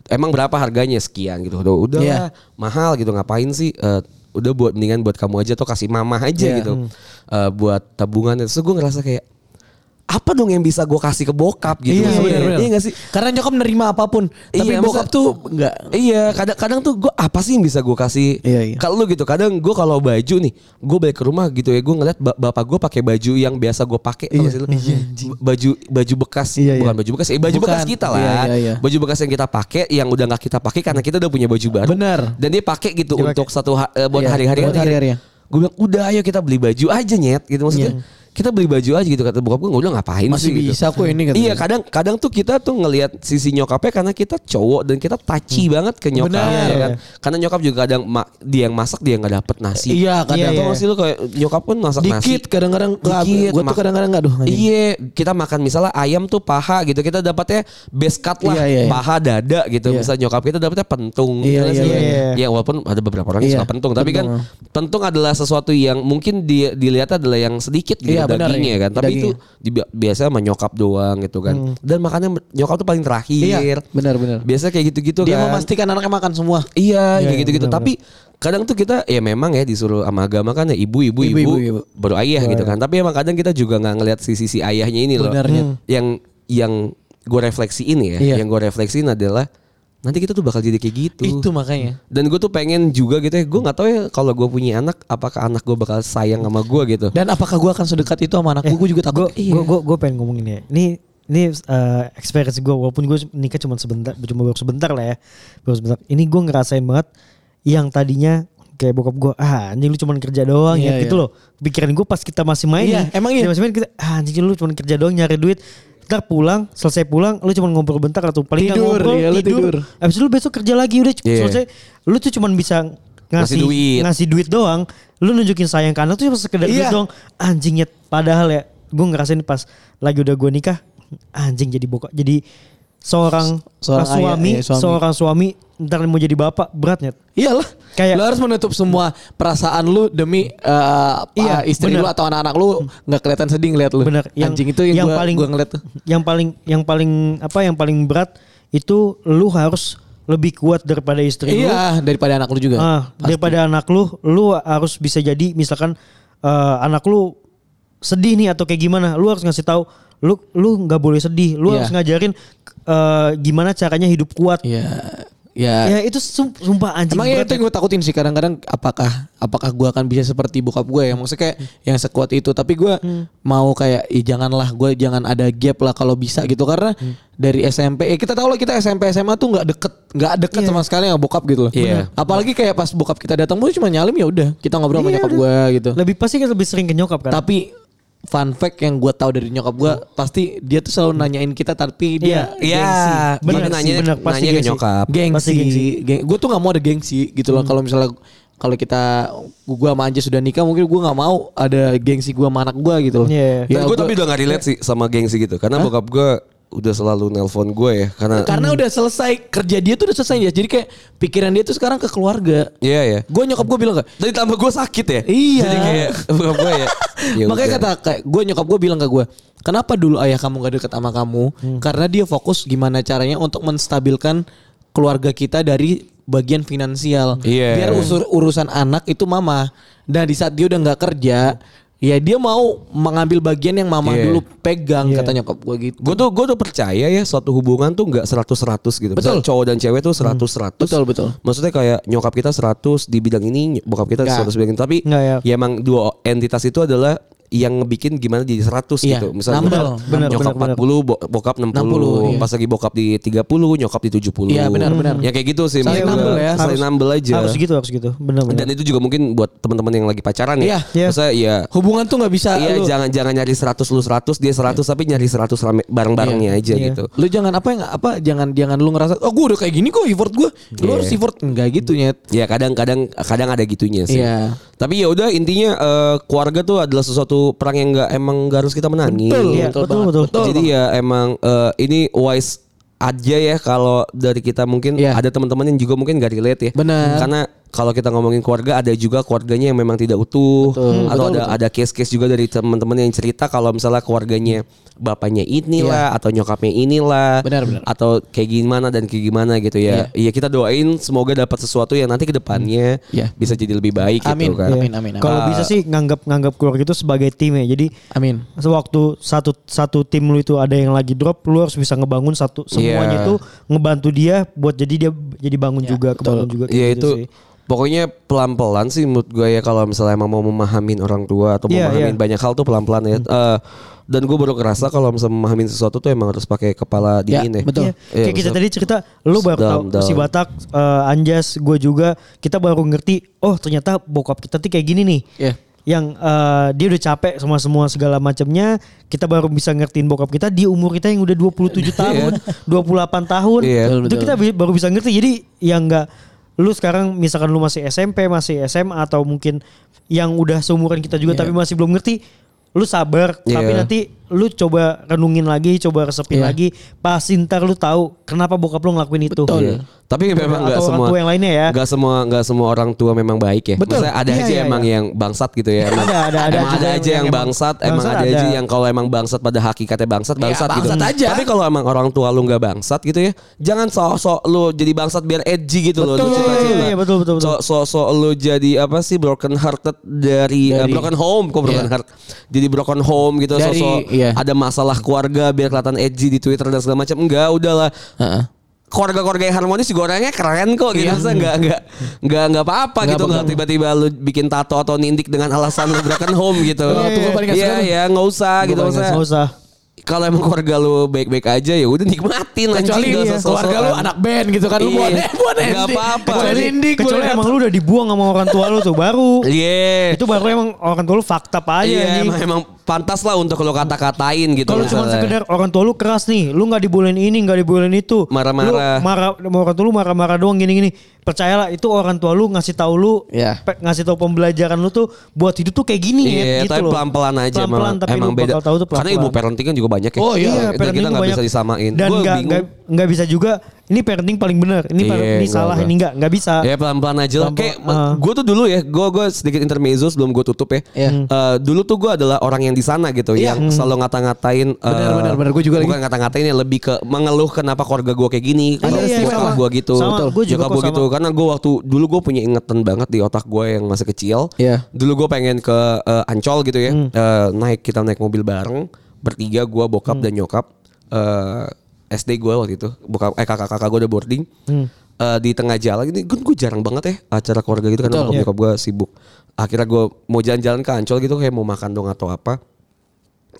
C: emang berapa harganya sekian gitu udah udah
B: Iya.
C: lah, mahal gitu ngapain sih Eh, udah buat mendingan buat kamu aja atau kasih mama aja
B: Iya.
C: gitu Eh, buat tabungan terus gue ngerasa kayak apa dong yang bisa gue kasih ke bokap gitu
B: Iya,
C: Maksudnya,
B: bener, bener.
C: iya gak sih
B: Karena nyokap nerima apapun, tapi
C: Iya,
B: bokap
C: maksudnya-
B: tuh enggak.
C: Iya, kadang-kadang tuh gue apa sih yang bisa gue kasih?
B: Iya, iya.
C: Kalau lu gitu, kadang gue kalau baju nih, gue balik ke rumah gitu ya, gue ngeliat ba- bapak gue pakai baju yang biasa gue pakai, tau
B: Iya,
C: gak sih lu? B- baju baju bekas,
B: Iya, iya.
C: bukan baju bekas, eh, baju
B: Bukan.
C: bekas kita lah,
B: Iya, iya, iya.
C: baju bekas yang kita pakai, yang udah nggak kita pakai karena kita udah punya baju baru.
B: Benar.
C: Dan dia pakai gitu
D: Dia
C: untuk satu ha- eh, buat
B: Iya,
C: hari-hari.
B: buat hari-hari ya. Iya.
C: Gue bilang udah ayo kita beli baju aja nyet, gitu maksudnya. Kita beli baju aja gitu kata bokap gue, gue bilang ngapain
B: Masih
C: sih?" gitu.
B: bisa kok ini kata dia.
C: Iya kadang kadang tuh kita tuh ngelihat sisi nyokapnya karena kita cowok dan kita taci banget ke nyokap
B: Hmm. Benar.
C: ya kan. Karena nyokap juga kadang ma- dia yang masak dia nggak dapet nasi.
B: Iya, kadang
C: Atau masih lu kayak nyokap pun masak nasi.
B: dikit kadang-kadang
C: Dikit,
B: gue tuh
C: mak-
B: kadang-kadang enggak aduh. anjing.
C: Iya, kita makan misalnya ayam tuh paha gitu. Kita dapatnya best cut
B: Iya,
C: lah,
B: iya, iya.
C: paha dada
B: Iya.
C: gitu. Misalnya nyokap kita dapatnya pentung.
B: Iya, iya,
C: Misalnya sih. Ya,
D: iya.
C: walaupun ada beberapa orang
B: Iya,
C: yang suka pentung, tapi kan
B: pentung.
C: pentung adalah sesuatu yang mungkin di, dilihat adalah yang sedikit gitu
B: Iya, benar,
C: dagingnya
B: iya.
C: kan. Tapi itu
B: Dagingnya.
C: dibi- biasanya sama nyokap doang gitu kan. Dan makannya nyokap tuh paling
B: Iya,
C: terakhir.
B: benar-benar.
C: Biasanya kayak gitu-gitu
B: Dia
C: kan.
B: memastikan anaknya makan semua.
C: Iya, kayak
D: iya,
C: gitu-gitu.
D: benar-benar.
C: Tapi kadang tuh kita ya memang ya disuruh sama agama kan ya
B: Ibu,
C: ibu-ibu ibu,
B: ibu, ibu. Iya,
C: baru ayah gitu kan. Tapi emang kadang kita juga nggak ngelihat sisi-sisi ayahnya ini loh. Mhm.
B: Benar, Nyet.
C: Yang yang gue refleksiin ya,
B: Iya.
C: yang gue refleksiin adalah nanti kita tuh bakal jadi kayak gitu.
B: Itu makanya.
C: Dan gue tuh pengen juga gitu ya, gue nggak tahu ya kalau gue punya anak, apakah anak gue bakal sayang sama gue gitu.
B: Dan apakah gue akan sedekat itu sama anak gue? Gue juga takut. Iya.
D: Gue gue gue pengen ngomongin ya. Ini ini eh, experience gue walaupun gue nikah cuma sebentar, cuma baru sebentar lah ya. Baru sebentar. Ini gue ngerasain banget yang tadinya kayak bokap gue ah anjing lu cuman kerja doang
B: Iya,
D: ya gitu
B: iya.
D: loh pikiran gue pas kita masih main
B: Iya,
D: nih,
B: emang iya.
D: kita masih main kita ah anjing lu cuman kerja doang nyari duit ntar pulang selesai pulang lu cuman ngobrol bentar atau paling nggak
B: Tidur,
D: ngobrol
B: iya, lu tidur.
D: abis itu lu besok kerja lagi udah cukup
C: Iya.
D: selesai lu tuh cuman bisa ngasih
C: Ngasih duit.
D: ngasih duit doang lu nunjukin sayang ke anak tuh cuma sekedar
B: Iya.
D: duit doang anjingnya padahal ya gue ngerasain pas lagi udah gue nikah anjing jadi bokap jadi seorang,
B: Seorang ayah,
D: suami,
B: iya, suami.
D: seorang suami ntar mau jadi bapak beratnya
B: Iyalah.
D: Kayak-
B: lu harus menutup semua perasaan lu demi eh,
D: Iya,
B: pa- istri
D: bener.
B: lu atau anak-anak lu nggak kelihatan sedih ngeliat lu.
D: bener
B: Anjing itu yang, gua,
D: paling
B: gua ngeliat tuh.
D: yang paling yang paling apa yang paling berat itu lu harus lebih kuat daripada istri lu
B: Iya, daripada anak lu juga. Iya,
D: Ah, daripada anak lu, lu harus bisa jadi misalkan eh, anak lu sedih nih atau kayak gimana, lu harus ngasih tahu lu lu nggak boleh sedih, lu
B: Iya.
D: harus ngajarin eh, gimana caranya hidup kuat.
B: Iya. Ya.
D: Ya itu sum- sumpah anjing.
B: Emang ya
D: berat
B: itu yang gue takutin sih kadang-kadang apakah apakah gue akan bisa seperti bokap gue ya maksudnya kayak yang sekuat itu tapi gue mau kayak "Ih, janganlah gue jangan ada gap lah kalau bisa gitu karena dari SMP ya kita tahu lah kita SMP SMA tuh nggak deket nggak deket sama sekali sama bokap gitu loh
C: Iya.
B: apalagi kayak pas bokap kita datang gue cuma nyalim ya udah kita ngobrol sama
D: Iya,
B: nyokap
D: udah.
B: gue gitu
D: Lebih pasti kan lebih sering ke nyokap kan.
B: tapi fun fact yang gue tahu dari nyokap gue pasti dia tuh selalu nanyain kita tapi dia gengsi.
C: Iya, dia
D: Bener sih,
C: nanya,
D: bener,
C: nanya
D: pasti
C: ke
D: gengsi.
C: nyokap.
D: Pasti gengsi. Hmm.
B: gengsi, gue tuh nggak mau ada gengsi gitu loh kalau misalnya kalau kita gue sama Anja sudah nikah mungkin gue nggak mau ada gengsi gue sama anak gue gitu loh
D: Iya.
C: Dan gue
B: gua-
C: tapi udah gak relate sih sama gengsi gitu, karena bokap gue udah selalu nelpon gue ya, karena
B: karena
D: Hmm.
B: udah selesai kerja dia tuh udah selesai ya jadi kayak pikiran dia tuh sekarang ke keluarga
C: Iya ya.
B: gue nyokap gue bilang gak
C: Tadi tambah gue sakit ya.
B: Iya.
C: Jadi kayak bokap gue ya. ya
B: Makanya
C: udah.
B: kata kayak gue nyokap gue bilang ke gue, kenapa dulu ayah kamu gak deket sama kamu?
C: Hmm.
B: Karena dia fokus gimana caranya untuk menstabilkan keluarga kita dari bagian finansial.
C: Iya.
B: Biar usur urusan anak itu mama. Dan di saat dia udah nggak kerja, ya dia mau mengambil bagian yang mama
C: Iya.
B: dulu pegang kata nyokap gue gitu.
C: Gue tuh gue tuh percaya ya suatu hubungan tuh nggak 100-100 gitu. Betul. cowok dan cewek tuh
B: Hmm.
C: 100-100.
B: Betul, betul.
C: Maksudnya kayak nyokap kita 100 di bidang ini, bokap kita
B: Nggak.
C: 100 bidang ini. Tapi
D: Nggak, ya.
C: ya emang dua entitas itu adalah yang ngebikin gimana jadi 100
B: Iya.
C: gitu. Misalnya
B: Benar,
C: nyokap-
D: benar,
C: nyokap
D: benar, benar.
C: 40, bo- bokap 60.
B: 60, iya.
C: Pas lagi bokap di 30, nyokap di 70.
B: Iya, benar, benar.
C: Ya kayak gitu sih.
B: Saling
C: menurut gua.
B: nambel ya.
C: Saling nambel aja.
D: Harus gitu, harus gitu. Benar-benar.
C: Dan itu juga mungkin buat teman-teman yang lagi pacaran
B: Iya.
C: ya.
D: Iya.
C: Maksudnya ya
B: Hubungan tuh nggak bisa.
C: Iya
B: lu,
C: jangan jangan nyari 100 lu 100 dia 100 tapi nyari 100 rame- bareng-barengnya aja
D: Iya.
C: gitu.
B: lu jangan apa yang apa jangan jangan lu ngerasa oh gue udah kayak gini kok effort gue lu
C: Iya.
B: harus effort enggak gitu nyet
C: Ya kadang-kadang kadang ada gitunya sih.
B: Iya.
C: Tapi ya udah intinya eh, keluarga tuh adalah sesuatu perang yang nggak emang nggak harus kita menangi.
D: Iya,
B: betul
D: betul,
B: banget.
D: betul.
C: Jadi ya emang eh, ini wise aja ya kalau dari kita mungkin
B: Iya.
C: ada teman-teman yang juga mungkin gak relate ya.
B: Benar.
C: Karena kalau kita ngomongin keluarga ada juga keluarganya yang memang tidak utuh
B: Betul.
C: atau
B: Betul,
C: ada ada case-case juga dari teman-teman yang cerita kalau misalnya keluarganya bapaknya inilah atau nyokapnya inilah
B: Iya. Benar, benar.
C: atau kayak gimana dan kayak gimana gitu ya. Iya kita doain semoga dapat sesuatu yang nanti kedepannya
B: Iya.
C: bisa jadi lebih baik
B: Amin.
C: gitu kan.
B: Iya. Amin, amin, amin.
D: Kalau
C: Ah.
D: bisa sih nganggap nganggap keluarga itu sebagai tim ya. Jadi
B: Amin.
D: sewaktu satu satu tim lu itu ada yang lagi drop, lu harus bisa ngebangun
C: Iya.
D: satu semuanya itu ngebantu dia buat jadi dia jadi bangun juga, kebangun juga. kayak
C: Iya
D: gitu
C: itu
D: sih.
C: pokoknya pelan-pelan sih menurut gue ya kalau misalnya emang mau memahamin orang tua atau
D: Iya,
C: memahamin
D: iya. Hmm.
C: banyak hal tuh pelan-pelan ya. Eh, dan gue baru ngerasa kalau misalnya memahamin sesuatu tuh emang harus pakai kepala
B: Ya,
C: dingin ya.
B: betul.
D: Iya, Kayak kita tadi cerita, lu baru
C: Down,
D: tahu
C: down.
D: si Batak, eh, Anjas, gue juga, kita baru ngerti, oh ternyata bokap kita tuh kayak gini nih.
B: Iya.
D: Yang eh, dia udah capek sama semua segala macamnya, kita baru bisa ngertiin bokap kita di umur kita yang udah 27 tahun, 28 tahun.
C: Iya.
B: Betul,
D: Itu
B: betul.
D: kita bi- baru bisa ngerti. Jadi yang enggak lu sekarang misalkan lu masih SMP, masih SMA atau mungkin yang udah seumuran kita juga tapi masih belum ngerti, lu sabar tapi
C: Iya.
D: nanti lu coba renungin lagi, coba resepin
B: Iya.
D: lagi, pasti ntar lu tahu kenapa bokap lu ngelakuin itu.
B: Betul.
C: Iya. Tapi memang
D: Atau
C: nggak
D: orang
C: semua
D: tua yang lainnya ya.
C: Nggak semua nggak semua orang tua memang baik ya.
B: Betul.
C: Maksudnya ada
D: Iya,
C: aja
D: iya,
C: emang
D: iya.
C: yang bangsat gitu ya. Emang
D: Ada, ada, ada
C: emang
D: juga
C: aja
D: yang
C: yang
D: emang-
C: bangsat, emang
D: bangsat
C: ada, aja
D: ada. Iya,
C: yang kalau emang bangsat pada hakikatnya bangsat, bangsat gitu.
B: bangsat aja.
C: Tapi kalau emang orang tua lu nggak bangsat gitu ya, jangan sok-sok lu jadi bangsat biar edgy gitu loh.
D: Betul,
C: lu
D: iya, iya, betul, betul, betul.
C: So- Sok-sok lu jadi apa sih broken hearted dari, eh, broken home kok broken
B: Iya.
C: heart. Jadi broken home gitu
B: Dari-
C: sok-sok
B: iya.
C: ada masalah keluarga biar kelihatan edgy di Twitter dan segala macam. Enggak, udahlah
B: Heeh.
C: keluarga-keluarga yang harmonis juga orangnya keren kok gitu.
B: Iya.
C: Maksudnya nggak nggak nggak nggak apa-apa
B: Nggak
C: gitu. Nggak
B: apa-apa.
C: tiba-tiba lu bikin tato atau nindik dengan alasan lu broken home gitu.
B: Kalau tuh gua paling nggak
C: Iya
B: suka tuh.
C: iya nggak usah gitu.
D: Nggak
C: Maksudnya
D: usah.
C: kalau emang keluarga lu baik-baik aja ya udah nikmatin
B: Kecuali
D: iya,
B: iya.
C: nggak usah sok-sokan.
B: keluarga lu anak band gitu kan lu
C: Iya.
B: buat buat
C: Nggak apa-apa.
B: Buat
C: Kecuali-
B: indie, buat
D: Kecuali
B: apa.
D: emang lu udah dibuang sama orang tua lu tuh baru.
C: Iya.
D: itu baru emang orang tua lu fakta apa aja
C: Iya
D: anjing.
C: emang, emang pantas lah untuk lu kata-katain gitu.
D: Kalau cuma
C: misalnya.
D: sekedar orang tua lu keras nih, lu nggak dibolehin ini, nggak dibolehin itu.
C: Marah-marah.
D: Lu marah sama orang tua lu marah-marah doang gini-gini. Percayalah itu orang tua lu ngasih tahu lu,
B: Iya.
D: pe- ngasih tahu pembelajaran lu tuh buat hidup tuh kayak gini
C: Iya,
D: ya gitu
C: tapi
D: loh.
C: pelan-pelan aja
D: Pelan-pelan
C: emang,
D: tapi
C: emang
D: lu bakal tahu tuh
C: Karena ilmu parenting kan juga banyak ya.
B: Oh, iya,
C: Dan kita
D: parenting
C: nggak bisa
D: banyak.
C: disamain.
D: Dan
C: Gua
D: nggak
C: bingung.
D: nggak nggak bisa juga ini parenting paling benar, ini par-
C: Iya,
D: ini
C: gua-
D: salah,
C: gua.
D: ini nggak nggak bisa.
C: Ya pelan-pelan aja lah. Kayak
D: Iya, Pelan-pelan, ah.
C: gue tuh dulu ya, gue gue sedikit intermezzo sebelum gue tutup ya.
B: Iya.
D: Hmm.
C: Eh, dulu tuh gue adalah orang yang di sana gitu,
B: Iya.
C: yang selalu ngata-ngatain. eh,
B: Benar, benar, benar. Gua juga lagi.
C: Bukan ngata-ngatain ya, lebih ke mengeluh kenapa keluarga gue kayak gini. Kalau
D: iya,
C: nyokap
D: sama.
C: gue gitu,
D: Sama, gua juga
C: nyokap
D: kok
C: gue
D: sama.
C: gitu. Karena gue waktu dulu gue punya ingetan banget di otak gue yang masih kecil.
B: Iya. Hmm.
C: Dulu gue pengen ke eh, Ancol gitu ya, Eh, naik kita naik mobil bareng bertiga gue bokap
B: Hmm.
C: dan nyokap. Eh, SD gue waktu itu, bokap eh kakak-kakak gue udah boarding.
B: Hmm.
C: Eh, di tengah jalan ini gue jarang banget ya acara keluarga gitu
B: Iya.
C: karena bokap nyokap gue sibuk. Akhirnya gue mau jalan-jalan ke Ancol gitu kayak mau makan dong atau apa.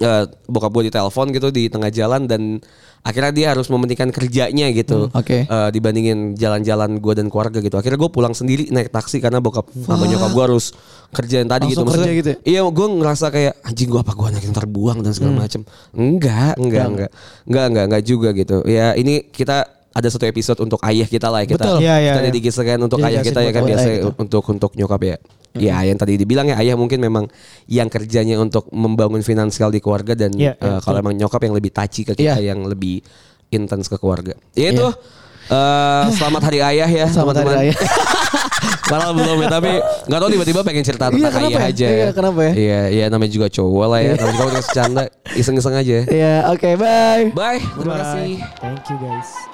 C: Eh, bokap gue ditelepon gitu di tengah jalan dan akhirnya dia harus mementingkan kerjanya gitu.
B: Hmm, oke.
C: Eh, dibandingin jalan-jalan gue dan keluarga gitu. Akhirnya gue pulang sendiri naik taksi karena bokap sama nyokap gue harus kerjain tadi
B: Langsung
C: gitu. Maksudnya,
B: kerja gitu ya?
C: Iya, gue ngerasa kayak anjing gue apa gue anak yang terbuang dan
B: Hmm.
C: segala macem. Enggak, enggak, enggak, enggak, enggak, enggak juga gitu. Ya ini kita ada satu episode untuk ayah kita lah ya kita
B: Betul.
D: Iya, iya,
C: kita
D: iya.
C: dedicated kan untuk
B: Jadi
C: ayah
B: kasih
C: kita ya
B: buat
C: kan
B: ayah
C: biasanya
B: kita. Hmm.
C: untuk untuk nyokap ya. Ya yang tadi dibilang ya ayah mungkin memang yang kerjanya untuk membangun finansial di keluarga dan
D: Iya,
C: eh,
D: iya,
C: kalau emang nyokap yang lebih taci ke kita
B: Iya.
C: yang lebih intens ke keluarga. Ya itu eh, selamat hari ayah ya
B: Selamat hari
C: teman-teman.
B: raya.
C: Padahal belum ya tapi nggak tahu tiba-tiba pengen cerita
B: Iya,
C: tentang
B: kenapa
C: ayah
B: ya?
C: aja.
B: Iya, kenapa ya?
C: Iya iya namanya juga cowok lah ya. Namanya juga orang bercanda iseng-iseng aja.
B: Iya, oke, bye.
C: Bye. Terima
D: Bye.
C: kasih.
D: Thank you guys.